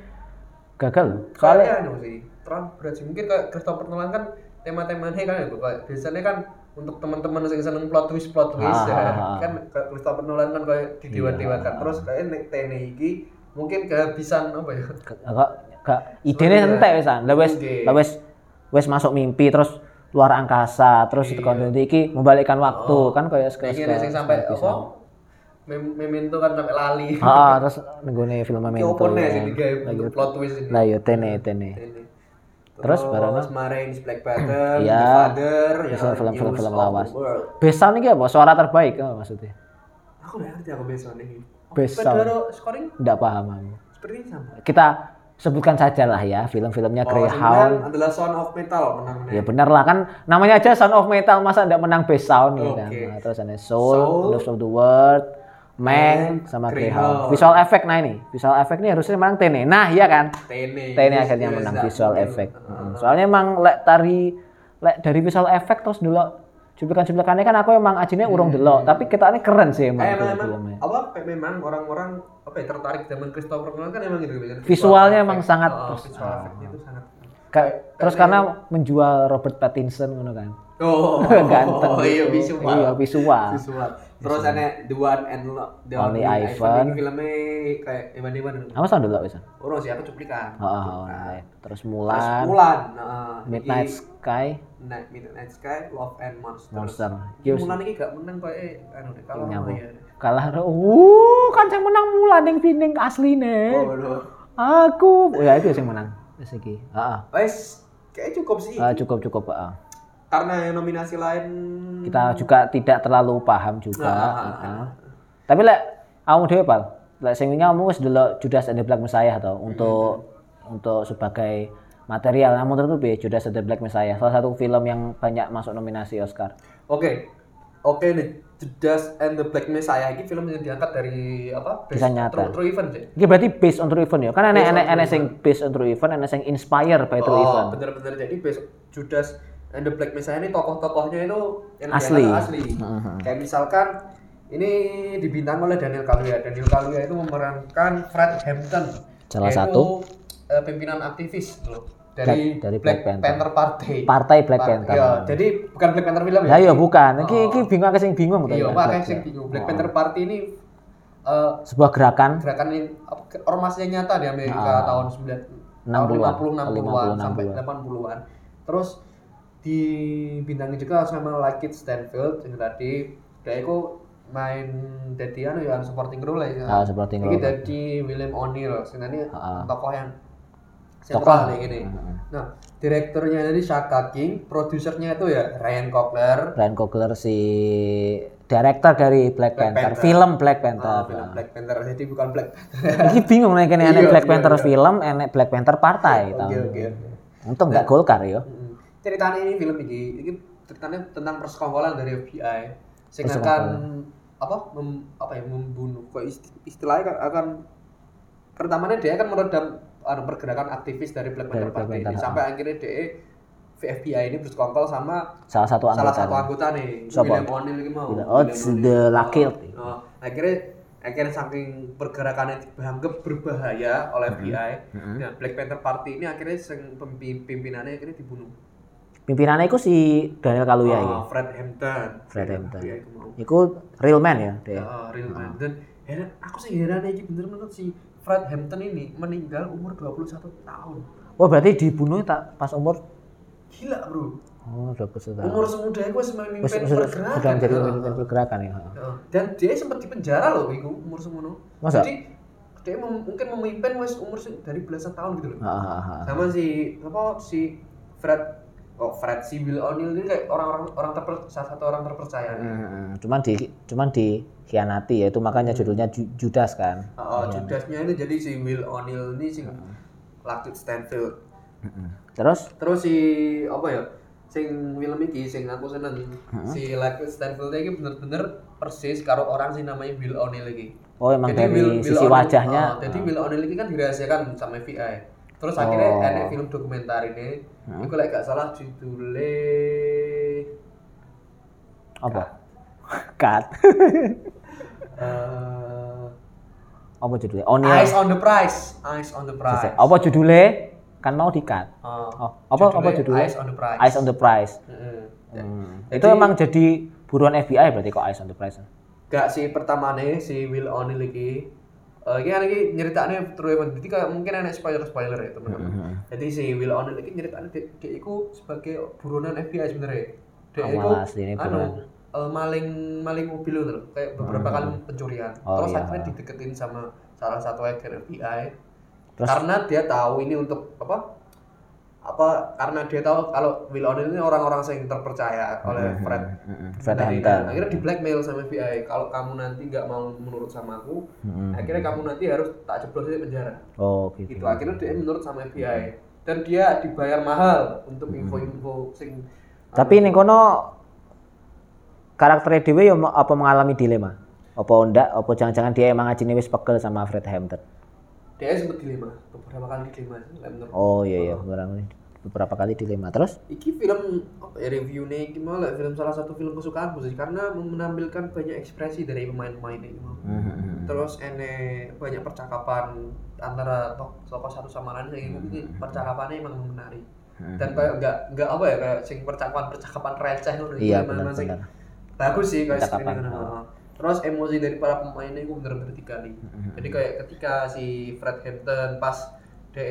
S2: gagal. loh. Soalnya
S1: soalnya anu sih, terlalu berat sih. Mungkin kayak Christopher Nolan kan tema-temanya kan ya, Bu, kayak biasanya kan untuk teman-teman yang seneng plot twist plot twist
S2: Ah,
S1: ya,
S2: ah, ah. Iya.
S1: kan kayak Christopher Nolan kan kayak didewa-dewakan terus kayak nek TNI iki mungkin kehabisan apa ya
S2: gak- gak gak idene entek wisan. Lah wis
S1: Oke.
S2: lah wis wis masuk mimpi terus luar angkasa terus itu kan nanti iki membalikkan waktu kan
S1: Iya.
S2: kayak
S1: Oh. iki nek sing sampai apa Mem- memento kan sampai lali
S2: Ah, ah, terus nenggone film
S1: Ki
S2: Memento. ya. iya.
S1: opo nih sing digawe untuk plot twist ini
S2: Lah yo Tene Tene.
S1: Ini.
S2: Terus barono?
S1: Marain Black Button,
S2: Iya.
S1: The Father,
S2: Terus
S1: ya,
S2: film- film-
S1: News
S2: film
S1: of the
S2: lawas.
S1: World.
S2: Best sound iki apa? Suara terbaik apa maksudnya?
S1: Aku nggak ngerti aku best sound ini.
S2: Best
S1: Apa
S2: sound.
S1: Pedro scoring
S2: Ndak paham aku.
S1: seperti ini sama.
S2: kita sebutkan saja lah ya film-filmnya
S1: Oh,
S2: Greyhound.
S1: sembilan adalah Sound of Metal menang menang.
S2: Ya benar lah kan namanya aja Sound of Metal masa tidak menang Best Sound ya kan.
S1: Oke.
S2: Nah, terus ada Soul,
S1: Soul,
S2: Loves of the World, Mang
S1: Mank,
S2: sama
S1: Greyhound.
S2: Greyhound. Visual Effect nah ini. Visual Effect ini harusnya menang Tene. Nah, iya kan.
S1: Tene.
S2: Tene akhirnya
S1: Yes,
S2: menang
S1: yes,
S2: Visual
S1: yes.
S2: Effect. Mm. Soalnya emang lek dari lek dari Visual Effect terus dulu cuplikan-cuplikannya kan aku emang ajinya urung delok, tapi kita ini keren sih
S1: Hmm. Eh,
S2: emang
S1: emang, emang,
S2: film-filmnya.
S1: apa pe- memang orang-orang apa ya tertarik zaman Christopher Nolan kan emang gitu biasanya.
S2: Visualnya emang
S1: effect.
S2: sangat Ah.
S1: Oh,
S2: pers-
S1: visual effect-nya itu sangat. Eh,
S2: Ka- Terus karena menjual Robert Pattinson gitu kan.
S1: Oh,
S2: Ganteng.
S1: Oh, iya
S2: gitu.
S1: visual.
S2: Iya, visual.
S1: visual. Terus ada The One and Lo- The
S2: Only Ivan.
S1: Ini filmnya kayak Ivan-Ivan.
S2: Kamu sound dulu bisa. Ah,
S1: Orang sih aku cuplikan.
S2: Oh, oh, oh, right. Terus
S1: Terus
S2: Mulan,
S1: Mulan. nah,
S2: Midnight
S1: ini
S2: Sky,
S1: Night Midnight Night Sky, Love and Monster.
S2: Monster. Yes.
S1: Mulan ini gak menang kok eh anu deh kalau
S2: Iya,
S1: mau
S2: Bu.
S1: ya.
S2: Kalah. Uh, kan saya menang mula ning pining asline.
S1: Oh. Bodoh.
S2: Aku. Oh, ya itu yang menang. Wis iki. Heeh.
S1: Wes kayaknya cukup sih.
S2: Eh, cukup cukup, heeh.
S1: Karena yang nominasi lain
S2: Kita juga tidak terlalu paham juga.
S1: Hmm. Ah, ah, ah.
S2: heeh. Tapi lek awakmu dhewe, Pal. Lek sing wingi awakmu wis delok Judas and the Black Messiah to untuk
S1: Hmm.
S2: untuk sebagai material. Nah, menurutku piye Judas and the Black Messiah? Salah satu film yang banyak masuk nominasi Oscar.
S1: Oke. Oke, The Judas and the Black Messiah ini film yang diangkat dari apa?
S2: Kisah
S1: True,
S2: nyata.
S1: true event ya? sih.
S2: Iki berarti based on true event ya. Kan
S1: Based on
S2: enek-enek
S1: true
S2: enek sing based on true event, enek sing inspired by true event.
S1: Oh, bener-bener jadi base Judas and the Black Messiah ini tokoh-tokohnya itu yang
S2: Asli.
S1: diangkat asli. Kayak misalkan ini dibintang oleh Daniel Kaluuya. Daniel Kaluuya itu memerankan Fred Hampton.
S2: Salah
S1: yaitu,
S2: satu.
S1: eh, pimpinan aktivis loh dari,
S2: Black- dari
S1: Black,
S2: Black
S1: Panther.
S2: Panther.
S1: Party.
S2: Partai Black
S1: Par-
S2: Panther.
S1: Iya, jadi bukan Black Panther film ya.
S2: Lah ya bukan. Iki
S1: Oh.
S2: iki bingung aku sing bingung
S1: Iya,
S2: Black
S1: makanya
S2: Panther.
S1: sing bingung. Black
S2: Oh.
S1: Panther Party ini eh,
S2: Sebuah gerakan
S1: gerakan ini apa, ke- ormasnya nyata di Amerika
S2: Ah.
S1: tahun 9 tahun
S2: 60-an,
S1: 50 60-an
S2: 50-an.
S1: sampai 80-an. Terus dibintangi juga sama Lakit Stanfield yang tadi dia itu main dadi anu ya supporting role lah ya.
S2: Ah, supporting
S1: Iki
S2: role.
S1: dadi William O'Neill sebenarnya
S2: Ah.
S1: tokoh yang
S2: Tokoh. Ah,
S1: sentral nih gini.
S2: Heeh.
S1: Nah, direkturnya ini Shaka King, produsernya itu ya Ryan Coogler,
S2: Brian Cogler si director dari Black, Panther.
S1: Panther.
S2: film Black Panther.
S1: ah, film Black Panther. Jadi bukan Black Panther.
S2: Iki bingung nek kene enek
S1: Iya,
S2: Black
S1: iya,
S2: Panther
S1: iya.
S2: film, enek Black Panther partai tau.
S1: Oke, oke, oke.
S2: Untung enggak Golkar ya.
S1: Mm. Ceritanya ini film ini, ini ceritanya tentang persekongkolan dari FBI. Sing akan
S2: Persekongkolan.
S1: apa mem- apa ya membunuh kok isti- istilahnya kan- akan pertamanya dia akan meredam anu, pergerakan aktivis dari Black
S2: Dari
S1: Panther Party
S2: Black
S1: ini
S2: Panther,
S1: sampai akhirnya dia FBI ini bersekongkol sama
S2: Salah satu
S1: salah
S2: anggota.
S1: satu anggota nih
S2: Siapa?
S1: William O'Neill ini mau
S2: Oh,
S1: William
S2: si
S1: O'Neill.
S2: the Lucky.
S1: Oh, akhirnya akhirnya saking pergerakan yang dianggap berbahaya oleh FBI, nah,
S2: Mm-hmm.
S1: Black Panther Party ini akhirnya sing pempi- pimpinannya akhirnya dibunuh.
S2: Pimpinannya iku si Daniel Kaluuya ya.
S1: Oh, Fred Hampton.
S2: Fred Hampton.
S1: Iya, itu mau.
S2: Iku real man ya dia.
S1: Oh, real Hampton. Heran, aku sih heran aja bener menurut si Fred Hampton ini meninggal umur 21 tahun.
S2: Wah, Oh, berarti dibunuh tak pas umur
S1: Gila, Bro.
S2: oh 20 tahun.
S1: Umur semuda itu masih memimpin
S2: Wis- wis- sudah
S1: pergerakan.
S2: menjadi
S1: Ah.
S2: pemimpin pergerakan ya.
S1: Heeh. dan dia sempat di penjara loh iku umur semono
S2: Masa?
S1: jadi dia mem- mungkin memimpin wes umur se- dari belasan tahun gitu loh
S2: Ah, ah, ah, ah.
S1: sama si apa si Fred kok Fred si Bill O'Neill ini kayak orang-orang orang terper, salah satu orang terpercaya nih.
S2: Hmm, cuman di cuman dikhianati ya itu makanya judulnya Ju- Judas kan.
S1: Oh, Judasnya ini jadi si Will O'Neill ini si Lakit Stanfield
S2: Terus
S1: terus si apa ya sing film iki sing aku seneng si Lakit Stanfield ini bener-bener persis karo orang sing namanya Will O'Neill lagi
S2: oh emang
S1: Jadi
S2: dari
S1: Will, Will
S2: sisi
S1: O'Neill-
S2: wajahnya
S1: oh, jadi Will O'Neill ini kan dirahasiakan sama FBI. Terus akhirnya
S2: Oh.
S1: ada film dokumenter ini. Iku lek gak salah judulnya
S2: apa? Cut.
S1: eh,
S2: apa judulnya? O'Neill.
S1: Eyes on the Prize. Eyes on the Prize.
S2: Iya. Apa judulnya? Kan mau di-cut.
S1: Oh,
S2: Oh, apa apa judulnya?
S1: Eyes on the Prize.
S2: Eyes on the Prize.
S1: Mm-mm.
S2: Hmm.
S1: Ya. Jadi-
S2: Itu emang jadi buruan FBI berarti kok Eyes on the Prize.
S1: Gak si pertama nih si Will O'Neill ini. Eh ini kan ini nyeritaknya true event. Jadi kayak mungkin ada spoiler spoiler ya teman-teman. Jadi si Will O'Neill ini nyeritaknya dia, dia iku sebagai buronan FBI sebenarnya. Dia iku
S2: Amal asli ini buruan.
S1: anu eh, maling maling mobil itu loh, kayak beberapa kali pencurian.
S2: Hmm. Oh,
S1: Terus
S2: iya.
S1: akhirnya dideketin sama salah satu agen FBI.
S2: Terus-
S1: karena dia tahu ini untuk apa? Apa karena dia tahu kalau Will O'Neill ini orang-orang yang terpercaya
S2: Hmm,
S1: oleh Fred
S2: Mm-mm. Fred
S1: Nah,
S2: Hampton.
S1: ini akhirnya di blackmail sama FBI kalau kamu nanti nggak mau menurut sama aku akhirnya kamu nanti harus tak jeblos di penjara
S2: Hmm. Oh, gitu.
S1: gitu akhirnya dia menurut sama FBI dan dia dibayar mahal untuk info-info sing
S2: Hmm. Tapi ning kono karakternya dhewe ya ma- apa mengalami dilema? Apa ndak? Apa jangan-jangan dia emang ajine wis pegel sama Fred Hampton?
S1: eh, dia sempat dilema beberapa kali dilema lah menurut
S2: Oh iya iya, beberapa beberapa kali dilema. Terus
S1: Iki film apa ya reviewnya iki malah film salah satu film kesukaanku sih karena menampilkan banyak ekspresi dari pemain-pemainnya iki mau.
S2: Hmm.
S1: Terus ene banyak percakapan antara tok- tokoh satu sama lain sing iki
S2: Hmm.
S1: percakapannya emang menarik. Dan
S2: Mhm.
S1: kayak enggak enggak apa ya kayak sing percakapan-percakapan receh ngono iki
S2: Iya,
S1: emang sing
S2: benar-benar.
S1: bagus sih kayak
S2: Percakapan,
S1: screening ngono. Terus emosi dari para pemainnya itu
S2: Hmm.
S1: bener-bener digali. Jadi kayak ketika si Fred Hampton pas de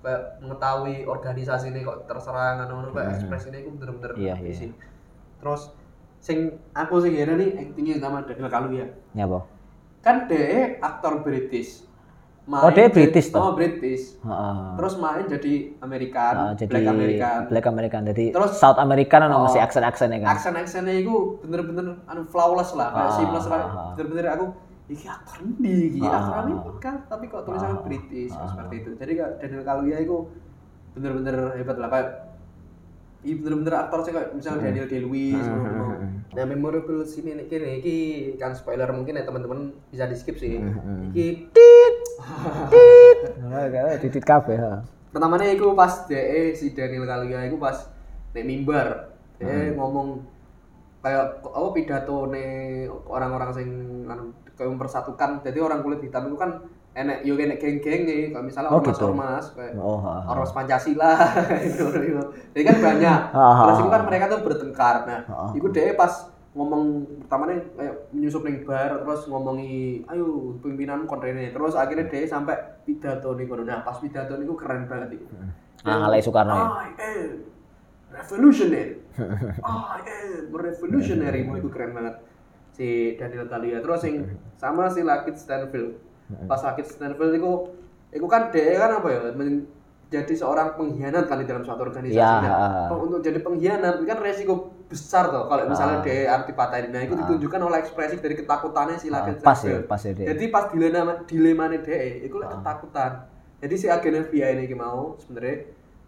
S1: kayak mengetahui organisasi ini kok terserang anu anu kayak ekspresi ini aku bener-bener
S2: Hmm. Iya,
S1: di
S2: iya.
S1: sini. Terus sing aku sing kira nih actingnya sama Daniel Kaluuya.
S2: Ya apa?
S1: Kan dia aktor British. Main
S2: Oh, dia
S1: jadi-
S2: British
S1: Oh,
S2: toh?
S1: British.
S2: Heeh.
S1: Terus main jadi American,
S2: Ah, jadi
S1: Black American.
S2: Black American. Jadi
S1: Terus-
S2: South American ono
S1: Oh.
S2: masih aksen-aksennya kan.
S1: aksen-aksennya itu bener-bener anu flawless lah, kayak
S2: Ah,
S1: seamless lah.
S2: ah, ah.
S1: Bener-bener aku iki aktor ndi iki?
S2: Ah,
S1: Aktor
S2: ah,
S1: Amerika tapi kok tulisannya
S2: Ah,
S1: British
S2: ah.
S1: seperti itu. Jadi kayak Daniel Kaluuya itu bener-bener hebat lah kayak Iya bener-bener aktor sih kayak misalnya Daniel Day-Lewis
S2: Hmm,
S1: ngono-ngono.
S2: hmm, hmm.
S1: Nah memorable scene ini kini iki kan spoiler mungkin ya teman-teman bisa di skip sih.
S2: Hmm, hmm.
S1: Iki
S2: Nah, kayak titit kabeh. ha.
S1: pertamanya itu pas DE si Daniel Kaluuya itu pas nek mimbar
S2: Hmm.
S1: dia ngomong kayak apa pidato nih orang-orang sing anu, kayak mempersatukan jadi orang kulit hitam itu kan enek yo enek geng-geng nih kalau misalnya
S2: Oh,
S1: ormas
S2: gitu.
S1: ormas kayak
S2: Oh, ha, ha.
S1: ormas Pancasila itu itu jadi kan banyak
S2: Ah, ah,
S1: terus itu kan
S2: ah.
S1: mereka tuh bertengkar nah
S2: Ah, ah.
S1: itu DE pas ngomong pertamanya kayak menyusup ning bar terus ngomongi ayo pimpinan kontrene terus akhirnya DE sampai pidato nih kono nah pas pidato niku keren banget itu
S2: Ah, Alai Soekarno ya.
S1: I am revolutionary. I am revolutionary. Wah, itu keren banget. Si Daniel Kaluuya terus sing sama si Lakit Stanfield. Pas Lakit Stanfield itu itu kan dia kan apa ya menjadi seorang pengkhianat kan di dalam suatu organisasi.
S2: Ya,
S1: Nah,
S2: ah.
S1: pe- untuk jadi pengkhianat itu kan resiko besar toh kalau misalnya
S2: Ah.
S1: dia arti patahin. Nah, itu
S2: Ah.
S1: ditunjukkan oleh ekspresi dari ketakutannya si
S2: Ah,
S1: Lakit
S2: Pas ya,
S1: Stanfield.
S2: pas ya. Dek.
S1: Jadi pas dilema dilemane dhek iku lek
S2: Ah.
S1: ketakutan. Jadi si agen FBI ini iki mau sebenarnya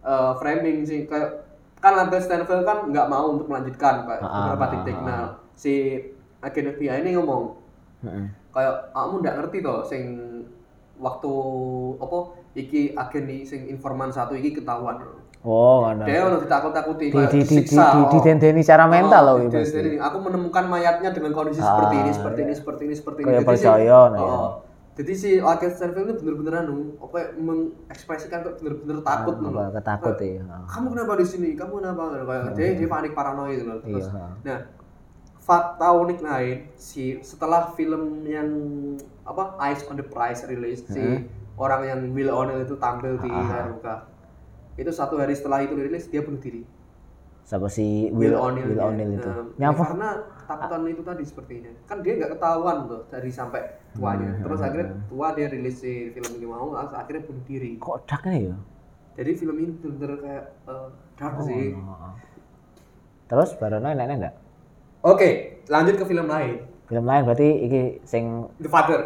S1: eh, framing sih kayak kan Lambert Stanfield kan nggak mau untuk melanjutkan kayak
S2: Ah,
S1: beberapa
S2: ah,
S1: titik.
S2: ah,
S1: Nah, si agen FBI ini ngomong
S2: Heeh.
S1: kayak kamu ndak ngerti toh sing waktu apa iki agen nih sing informan satu iki ketahuan.
S2: Oh, ngono.
S1: Dia ono ditakut-takuti
S2: Di
S1: kayak
S2: di di di
S1: disiksa.
S2: di-
S1: oh.
S2: didendeni secara mental loh
S1: Oh,
S2: itu.
S1: jadi ini, aku menemukan mayatnya dengan kondisi seperti ini,
S2: Ah,
S1: seperti ini, seperti ini, seperti ini.
S2: Kayak
S1: Jadi si-
S2: percaya, nah,
S1: oh,
S2: ya.
S1: Jadi si Orchid Stanfield ini bener-bener anu, apa ya, mengekspresikan kok bener-bener takut
S2: Ah,
S1: anu.
S2: apa, ketakut ya. Ah,
S1: Kamu kenapa di sini? Kamu kenapa? Anu, Kayak dia dia panik paranoid loh.
S2: Iya.
S1: Terus,
S2: ha.
S1: Nah, fakta unik lain si setelah film yang apa Eyes on the Prize rilis si
S2: Hmm.
S1: orang yang Will O'Neill itu tampil di
S2: Ah.
S1: layar lebar. itu satu hari setelah itu rilis dia bunuh diri.
S2: Siapa si
S1: Will
S2: Will
S1: O'Neill
S2: Will
S1: ya.
S2: O'Neill itu?
S1: Nah, ya
S2: Yang
S1: karena ketakutan itu tadi sepertinya kan dia nggak ketahuan tuh dari sampai tuanya
S2: Hmm,
S1: terus
S2: ya,
S1: akhirnya tua dia rilis si film ini mau langsung akhirnya bunuh diri
S2: kok daknya ya?
S1: jadi film ini bener-bener kayak eh, dark sih oke
S2: Oh. Terus Barono enaknya enggak?
S1: lanjut ke film lain
S2: Film lain berarti iki sing
S1: The Father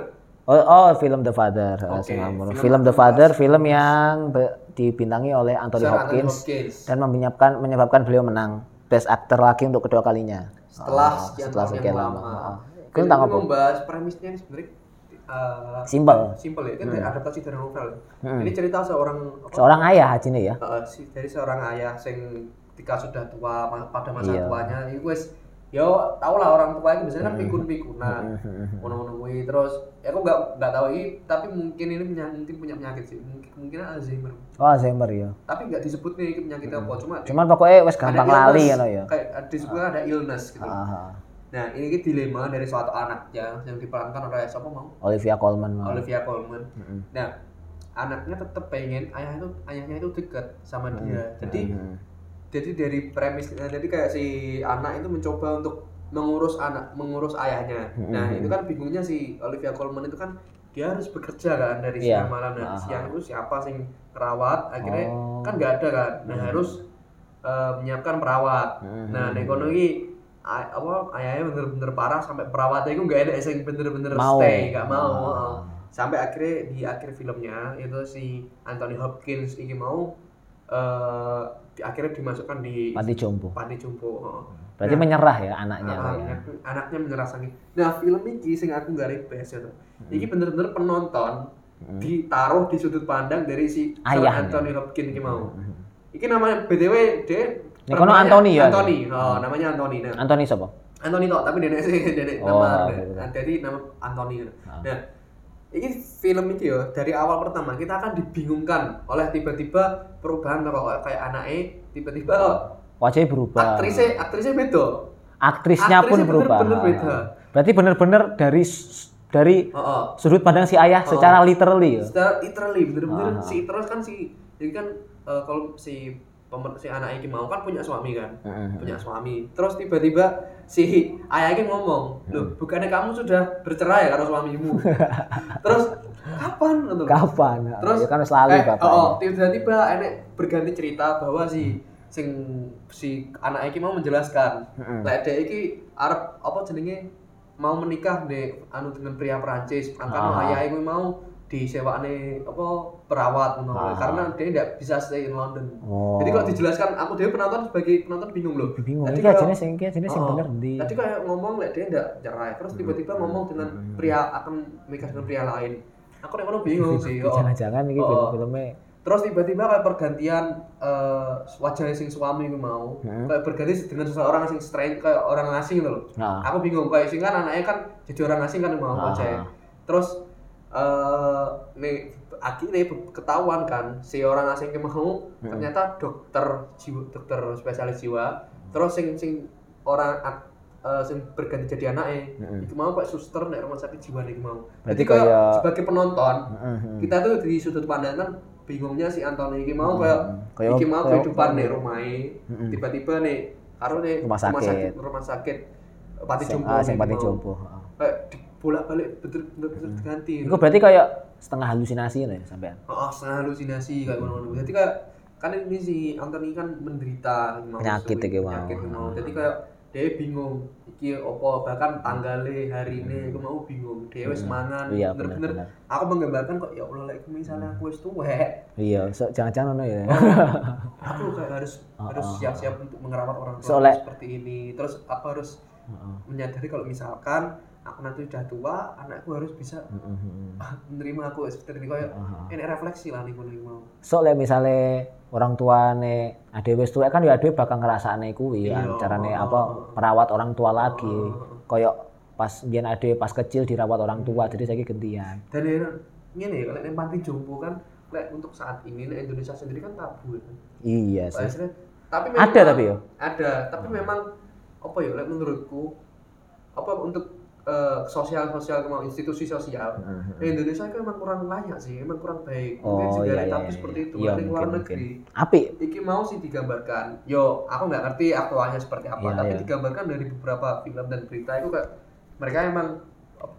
S2: Oh, oh, film The Father. Eh,
S1: Oke,
S2: sing ngomong.
S1: film
S2: Film, The
S1: Anthony
S2: Father, film yang be- dibintangi oleh Anthony
S1: Sir Anthony
S2: Hopkins
S1: Hopkins.
S2: dan menyebabkan menyebabkan beliau menang Best Actor lagi untuk kedua kalinya.
S1: setelah
S2: Ah,
S1: sekian
S2: setelah
S1: tahun
S2: sekian
S1: yang
S2: lama.
S1: lama,
S2: Ah. Itu
S1: Film
S2: tentang
S1: ini
S2: apa?
S1: membahas premisnya ini sebenarnya eh,
S2: Simpel.
S1: simpel ya kan adaptasi dari novel
S2: Hmm.
S1: ini cerita seorang apa,
S2: Seorang ayah haji nih ya.
S1: Heeh, si- dari seorang ayah sing ketika sudah tua ma- pada masa
S2: Iya.
S1: tuanya ya itu wes yo tau lah orang tua ini biasanya kan pikun pikunan ngono ngono terus ya aku nggak nggak tahu ini tapi mungkin ini penya- mungkin punya penyakit sih mungkin kemungkinan Alzheimer
S2: Oh, Alzheimer ya.
S1: tapi nggak disebut nih ini penyakit apa cuma
S2: Cuman pokoknya wes gampang lali
S1: illness,
S2: ya no ya.
S1: kayak ada- disebut ada illness gitu
S2: Ah, ah.
S1: nah ini ki dilema dari suatu anaknya yang diperankan oleh siapa mau
S2: Olivia Colman. hmm, ah.
S1: Olivia Colman
S2: Mm-mm.
S1: nah anaknya tetap pengen ayah itu ayahnya itu dekat sama dia
S2: hmm,
S1: jadi
S2: Mm-mm.
S1: jadi dari premis nah, jadi kayak si anak itu mencoba untuk mengurus anak mengurus ayahnya nah
S2: Mhm.
S1: itu kan bingungnya si Olivia Colman itu kan dia harus bekerja kan dari
S2: Iya.
S1: siang malam nah
S2: Aha.
S1: siang itu siapa sing kerawat akhirnya
S2: Oh.
S1: kan nggak ada kan nah harus eh, menyiapkan perawat
S2: Mhm.
S1: nah di kono iki ay- apa ayahnya bener-bener parah sampai perawatnya itu nggak enak sing bener-bener
S2: Mau.
S1: stay nggak mau Oh.
S2: Ah.
S1: sampai akhirnya di akhir filmnya itu si Anthony Hopkins ini mau eh, di akhirnya dimasukkan di
S2: Mati jompo.
S1: panti jompo heeh.
S2: Berarti
S1: Nah,
S2: menyerah ya anaknya.
S1: ah,
S2: ya.
S1: anaknya, anaknya menyerah sakit nah film ini sing aku nggak request ya
S2: Hmm.
S1: ini bener-bener penonton ditaruh di sudut pandang dari si Sir
S2: Ayahnya. Hmm.
S1: Anthony Hopkins ini mau ini namanya btw dia
S2: Ini kono
S1: namanya
S2: Anthony ya?
S1: Anthony oh, namanya Anthony nah
S2: Anthony siapa?
S1: Anthony tok tapi dene sih dene
S2: Oh,
S1: nama
S2: gitu.
S1: nah, jadi nama Anthony gitu.
S2: Ah.
S1: Nah, ini film ini ya dari awal pertama kita akan dibingungkan oleh tiba-tiba perubahan tokoh kayak, kayak anaknya tiba-tiba oh,
S2: Wajahnya berubah.
S1: aktrisnya aktrisnya beda.
S2: aktrisnya pun
S1: Aktrisnya
S2: berubah.
S1: bener-bener beda.
S2: Berarti benar-benar dari s- dari
S1: Heeh. Oh.
S2: sudut pandang si ayah secara literally ya.
S1: Secara literally bener-bener
S2: Ah.
S1: si terus kan si jadi kan eh, kalau si pemer- si anak ini mau kan punya suami kan
S2: Heeh.
S1: punya suami terus tiba-tiba si ayah ini ngomong loh
S2: Iya.
S1: bukannya kamu sudah bercerai karena suamimu terus kapan Gitu loh.
S2: Kapan?
S1: Terus,
S2: ya kan selalu
S1: Eh,
S2: kapan.
S1: oh, tiba-tiba enek berganti cerita bahwa si sing si anak iki mau menjelaskan.
S2: Heeh.
S1: Lek dhek iki arep apa jenenge mau menikah nih anu dengan pria Perancis. Angkane
S2: Ah.
S1: ayahe kuwi mau disewakne apa perawat ngono.
S2: Ah.
S1: karena dia tidak bisa stay in London.
S2: Oh. Hmm.
S1: Jadi kalau dijelaskan aku dhewe penonton sebagai penonton bingung loh.
S2: bingung
S1: Tadi
S2: iki
S1: kalau-
S2: jenis sing iki jenis sing
S1: Oh,
S2: bener ndi?
S1: Tadi kayak ngomong lek dia tidak cerai, terus tiba-tiba ngomong dengan
S2: Hmm.
S1: pria akan menikah dengan pria lain. Aku nek ngono bingung sih. oh.
S2: Jangan-jangan iki
S1: Oh.
S2: film-filme.
S1: terus tiba-tiba kayak pergantian eh wajahnya sing suami gue mau
S2: Hmm.
S1: kayak berganti dengan seseorang sing strange kayak orang asing gitu loh
S2: Nah.
S1: aku bingung kayak sing kan anaknya kan jadi orang asing kan mau
S2: Ah.
S1: wajahnya terus eh nih akhirnya be- ketahuan kan si orang asing yang mau
S2: Hmm.
S1: ternyata dokter jiwa dokter spesialis jiwa terus sing sing orang ak- eh, sing berganti jadi anaknya
S2: Hmm. Ah.
S1: itu mau kayak suster nih rumah sakit jiwa nih mau
S2: Berarti
S1: jadi kayak
S2: kayak- Hmm,
S1: sebagai penonton
S2: Heeh.
S1: kita tuh di sudut pandang kan bingungnya si Anthony iki mau kayak
S2: Hmm. Kayak-
S1: iki mau
S2: kayak- Hmm,
S1: kehidupan nih rumahnya
S2: Mm-mm.
S1: tiba-tiba nih karo nih
S2: Rumah sakit.
S1: rumah sakit pati
S2: Sing-
S1: jompo
S2: ah, sing
S1: iki
S2: paling
S1: mau.
S2: jompo. Hmm.
S1: kayak dibolak-balik betul-betul betul diganti
S2: Iku berarti kayak setengah halusinasi ngono ya sampean.
S1: oh setengah halusinasi kayak ngono-ngono jadi kayak kan ini si Anthony kan menderita iki mau,
S2: Penyakit
S1: suwi-
S2: iki mau.
S1: penyakit iki mau jadi kayak dia bingung iki opo bahkan tanggale hari ini aku mau bingung dia wis mangan
S2: Hmm. Iya,
S1: bener-bener
S2: bener-bener.
S1: aku menggambarkan kok ya Allah lek misalnya aku wis tuwek
S2: Iya, so- jangan-jangan ngono ya.
S1: aku kayak harus harus siap-siap untuk mengerawat orang tua
S2: Ah. Soalnya-
S1: aku seperti ini terus aku harus
S2: Heeh.
S1: menyadari kalau misalkan aku nanti sudah tua anakku harus bisa
S2: Heeh.
S1: menerima aku seperti ini kayak
S2: Heeh.
S1: ini refleksi lah nih ngono iki mau
S2: So lek misale orang tuane ade wis tuwek kan ya ade bakal ngrasakne kuwi
S1: Iya.
S2: kan carane apa perawat orang tua lagi.
S1: Ah,
S2: Koyok pas biyen ade pas kecil dirawat orang tua
S1: Hmm.
S2: jadi saiki gantian.
S1: dan ini gini kalau yang panti jompo kan lek untuk saat ini lek Indonesia sendiri kan tabu ya kan.
S2: Iya
S1: Kayak
S2: sih.
S1: istilahnya- tapi memang,
S2: Ada tapi ya.
S1: ada tapi memang apa ya lek menurutku apa untuk eh, sosial sosial mau institusi sosial Nah, Indonesia itu emang kurang layak sih, emang kurang baik. Mungkin
S2: Oh,
S1: juga
S2: iya,
S1: tapi
S2: iya,
S1: seperti itu
S2: iya. Iya,
S1: dari luar
S2: mungkin,
S1: negeri.
S2: Apik.
S1: Iki mau sih digambarkan. Yo, aku nggak ngerti aktualnya seperti apa,
S2: Iya,
S1: tapi
S2: iya.
S1: digambarkan dari beberapa film dan berita itu kayak mereka emang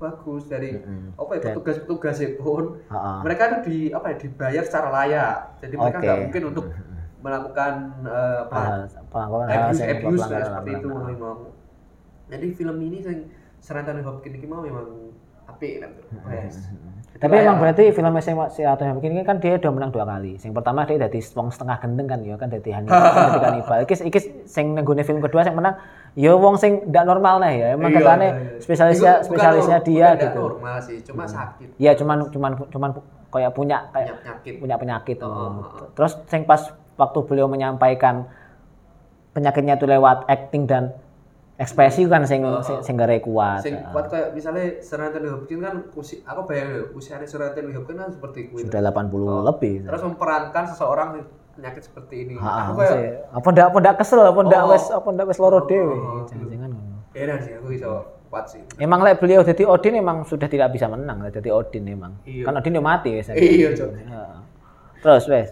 S1: bagus dari
S2: Mm-mm.
S1: apa ya
S2: Iya. Dan-
S1: petugas-petugasnya pun
S2: Heeh.
S1: mereka itu di apa ya dibayar secara layak. Jadi mereka
S2: Oke. Hmm,
S1: nggak mungkin untuk melakukan eh, pelan-
S2: Hal- Pelanggaran hal
S1: abuse
S2: sing
S1: abuse lah,
S2: pelanggaran-
S1: seperti itu
S2: pelanggaran.
S1: memang. Jadi film ini yang Serentan Hopkins ini mau memang apik lah, best. Jadi
S2: Hmm, Tapi emang
S1: kayak-
S2: berarti film sing si atau yang mungkin kan dia udah menang dua kali. Yang pertama dia dari wong setengah gendeng kan ya kan dari Hannibal kan dadi kanibal. Iki iki sing nenggone film kedua sing menang ya wong sing ndak normal lah ya. Emang
S1: Iya,
S2: katane
S1: iya, iya.
S2: spesialisnya
S1: Itu bukan
S2: spesialisnya
S1: nor-
S2: dia
S1: bukan nggak
S2: gitu.
S1: normal sih cuma sakit
S2: Iya cuman cuman cuman pu- kayak punya kayak
S1: banyak penyakit
S2: punya penyakit. gitu.
S1: Oh.
S2: Terus sing pas waktu beliau menyampaikan penyakitnya itu lewat acting dan ekspresi kan sing
S1: Oh.
S2: sing, sing gare kuat. Ah.
S1: sing kuat kayak misalnya Serenton Hopkins kan usia aku bayangin loh, usianya Serenton Hopkins kan seperti itu
S2: Sudah 80
S1: Oh.
S2: lebih.
S1: terus memperankan seorang yang penyakit seperti ini
S2: Ah,
S1: aku
S2: ah,
S1: kayak
S2: sih. apa ndak apa ndak kesel apa ndak
S1: Oh.
S2: wes apa ndak wes loro
S1: Oh,
S2: dhewe
S1: oh,
S2: jangan-jangan ngono.
S1: heran sih aku bisa kuat sih
S2: Emang lek beliau jadi Odin emang sudah tidak bisa menang lek jadi Odin emang.
S1: Iya.
S2: Kan Odin udah mati wes.
S1: Iya, Cok.
S2: Heeh. Terus wes.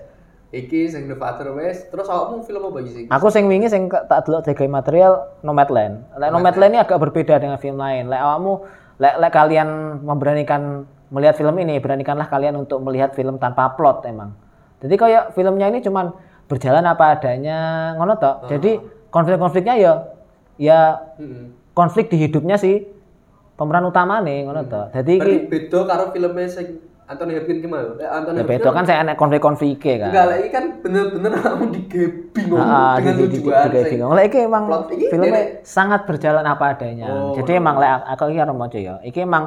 S1: iki sing The Father West terus awakmu film apa iki sing
S2: Aku sing wingi sing ke- tak delok sebagai material Nomadland. Lek Nomadland ini agak berbeda dengan film lain. Lek awakmu lek lek kalian memberanikan melihat film ini, beranikanlah kalian untuk melihat film tanpa plot emang. Jadi kayak filmnya ini cuman berjalan apa adanya ngono tok. Jadi konflik-konfliknya ya ya
S1: Heeh.
S2: konflik di hidupnya si pemeran utama nih ngono to. Dadi iki
S1: berarti beda karo filmnya sing Anthony Hopkins gimana Eh, Anthony
S2: ya beda kan saya enek konflik-konflik iki kan.
S1: enggak lah ini kan bener-bener kamu digabing
S2: Heeh,
S1: dengan
S2: di- di- di-
S1: tujuan
S2: di-
S1: sing
S2: bingung. Lah gitu. iki emang
S1: plot iki
S2: filmnya
S1: dene-
S2: sangat berjalan apa adanya.
S1: Oh.
S2: Jadi emang lek aku iki arep maca ya. Iki emang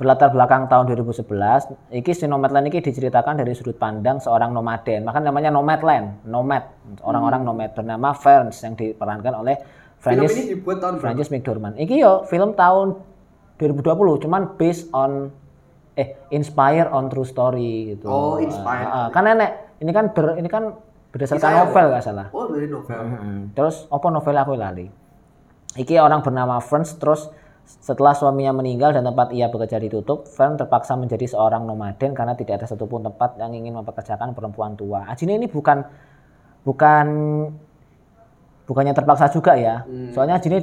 S2: berlatar belakang tahun 2011. Iki Sinomadland iki diceritakan dari sudut pandang seorang nomaden. Maka namanya Nomadland, nomad. Orang-orang nomad bernama Ferns yang diperankan oleh
S1: Hmm. film
S2: Francis
S1: ini dibuat tahun berapa
S2: Francis McDormand. Iki yo film tahun 2020 cuman based on eh inspire on true story gitu.
S1: Oh, inspired.
S2: Ah, ah. kan enek ini kan ber, ini kan
S1: Kisah ya,
S2: berdasarkan novel nggak salah. Hmm.
S1: oh dari novel
S2: Terus apa novel aku lali. Iki orang bernama Franz terus Setelah suaminya meninggal dan tempat ia bekerja ditutup, Fern terpaksa menjadi seorang nomaden karena tidak ada satupun tempat yang ingin mempekerjakan perempuan tua. Ajine ini bukan bukan bukannya terpaksa juga ya.
S1: Hmm.
S2: Soalnya Ajine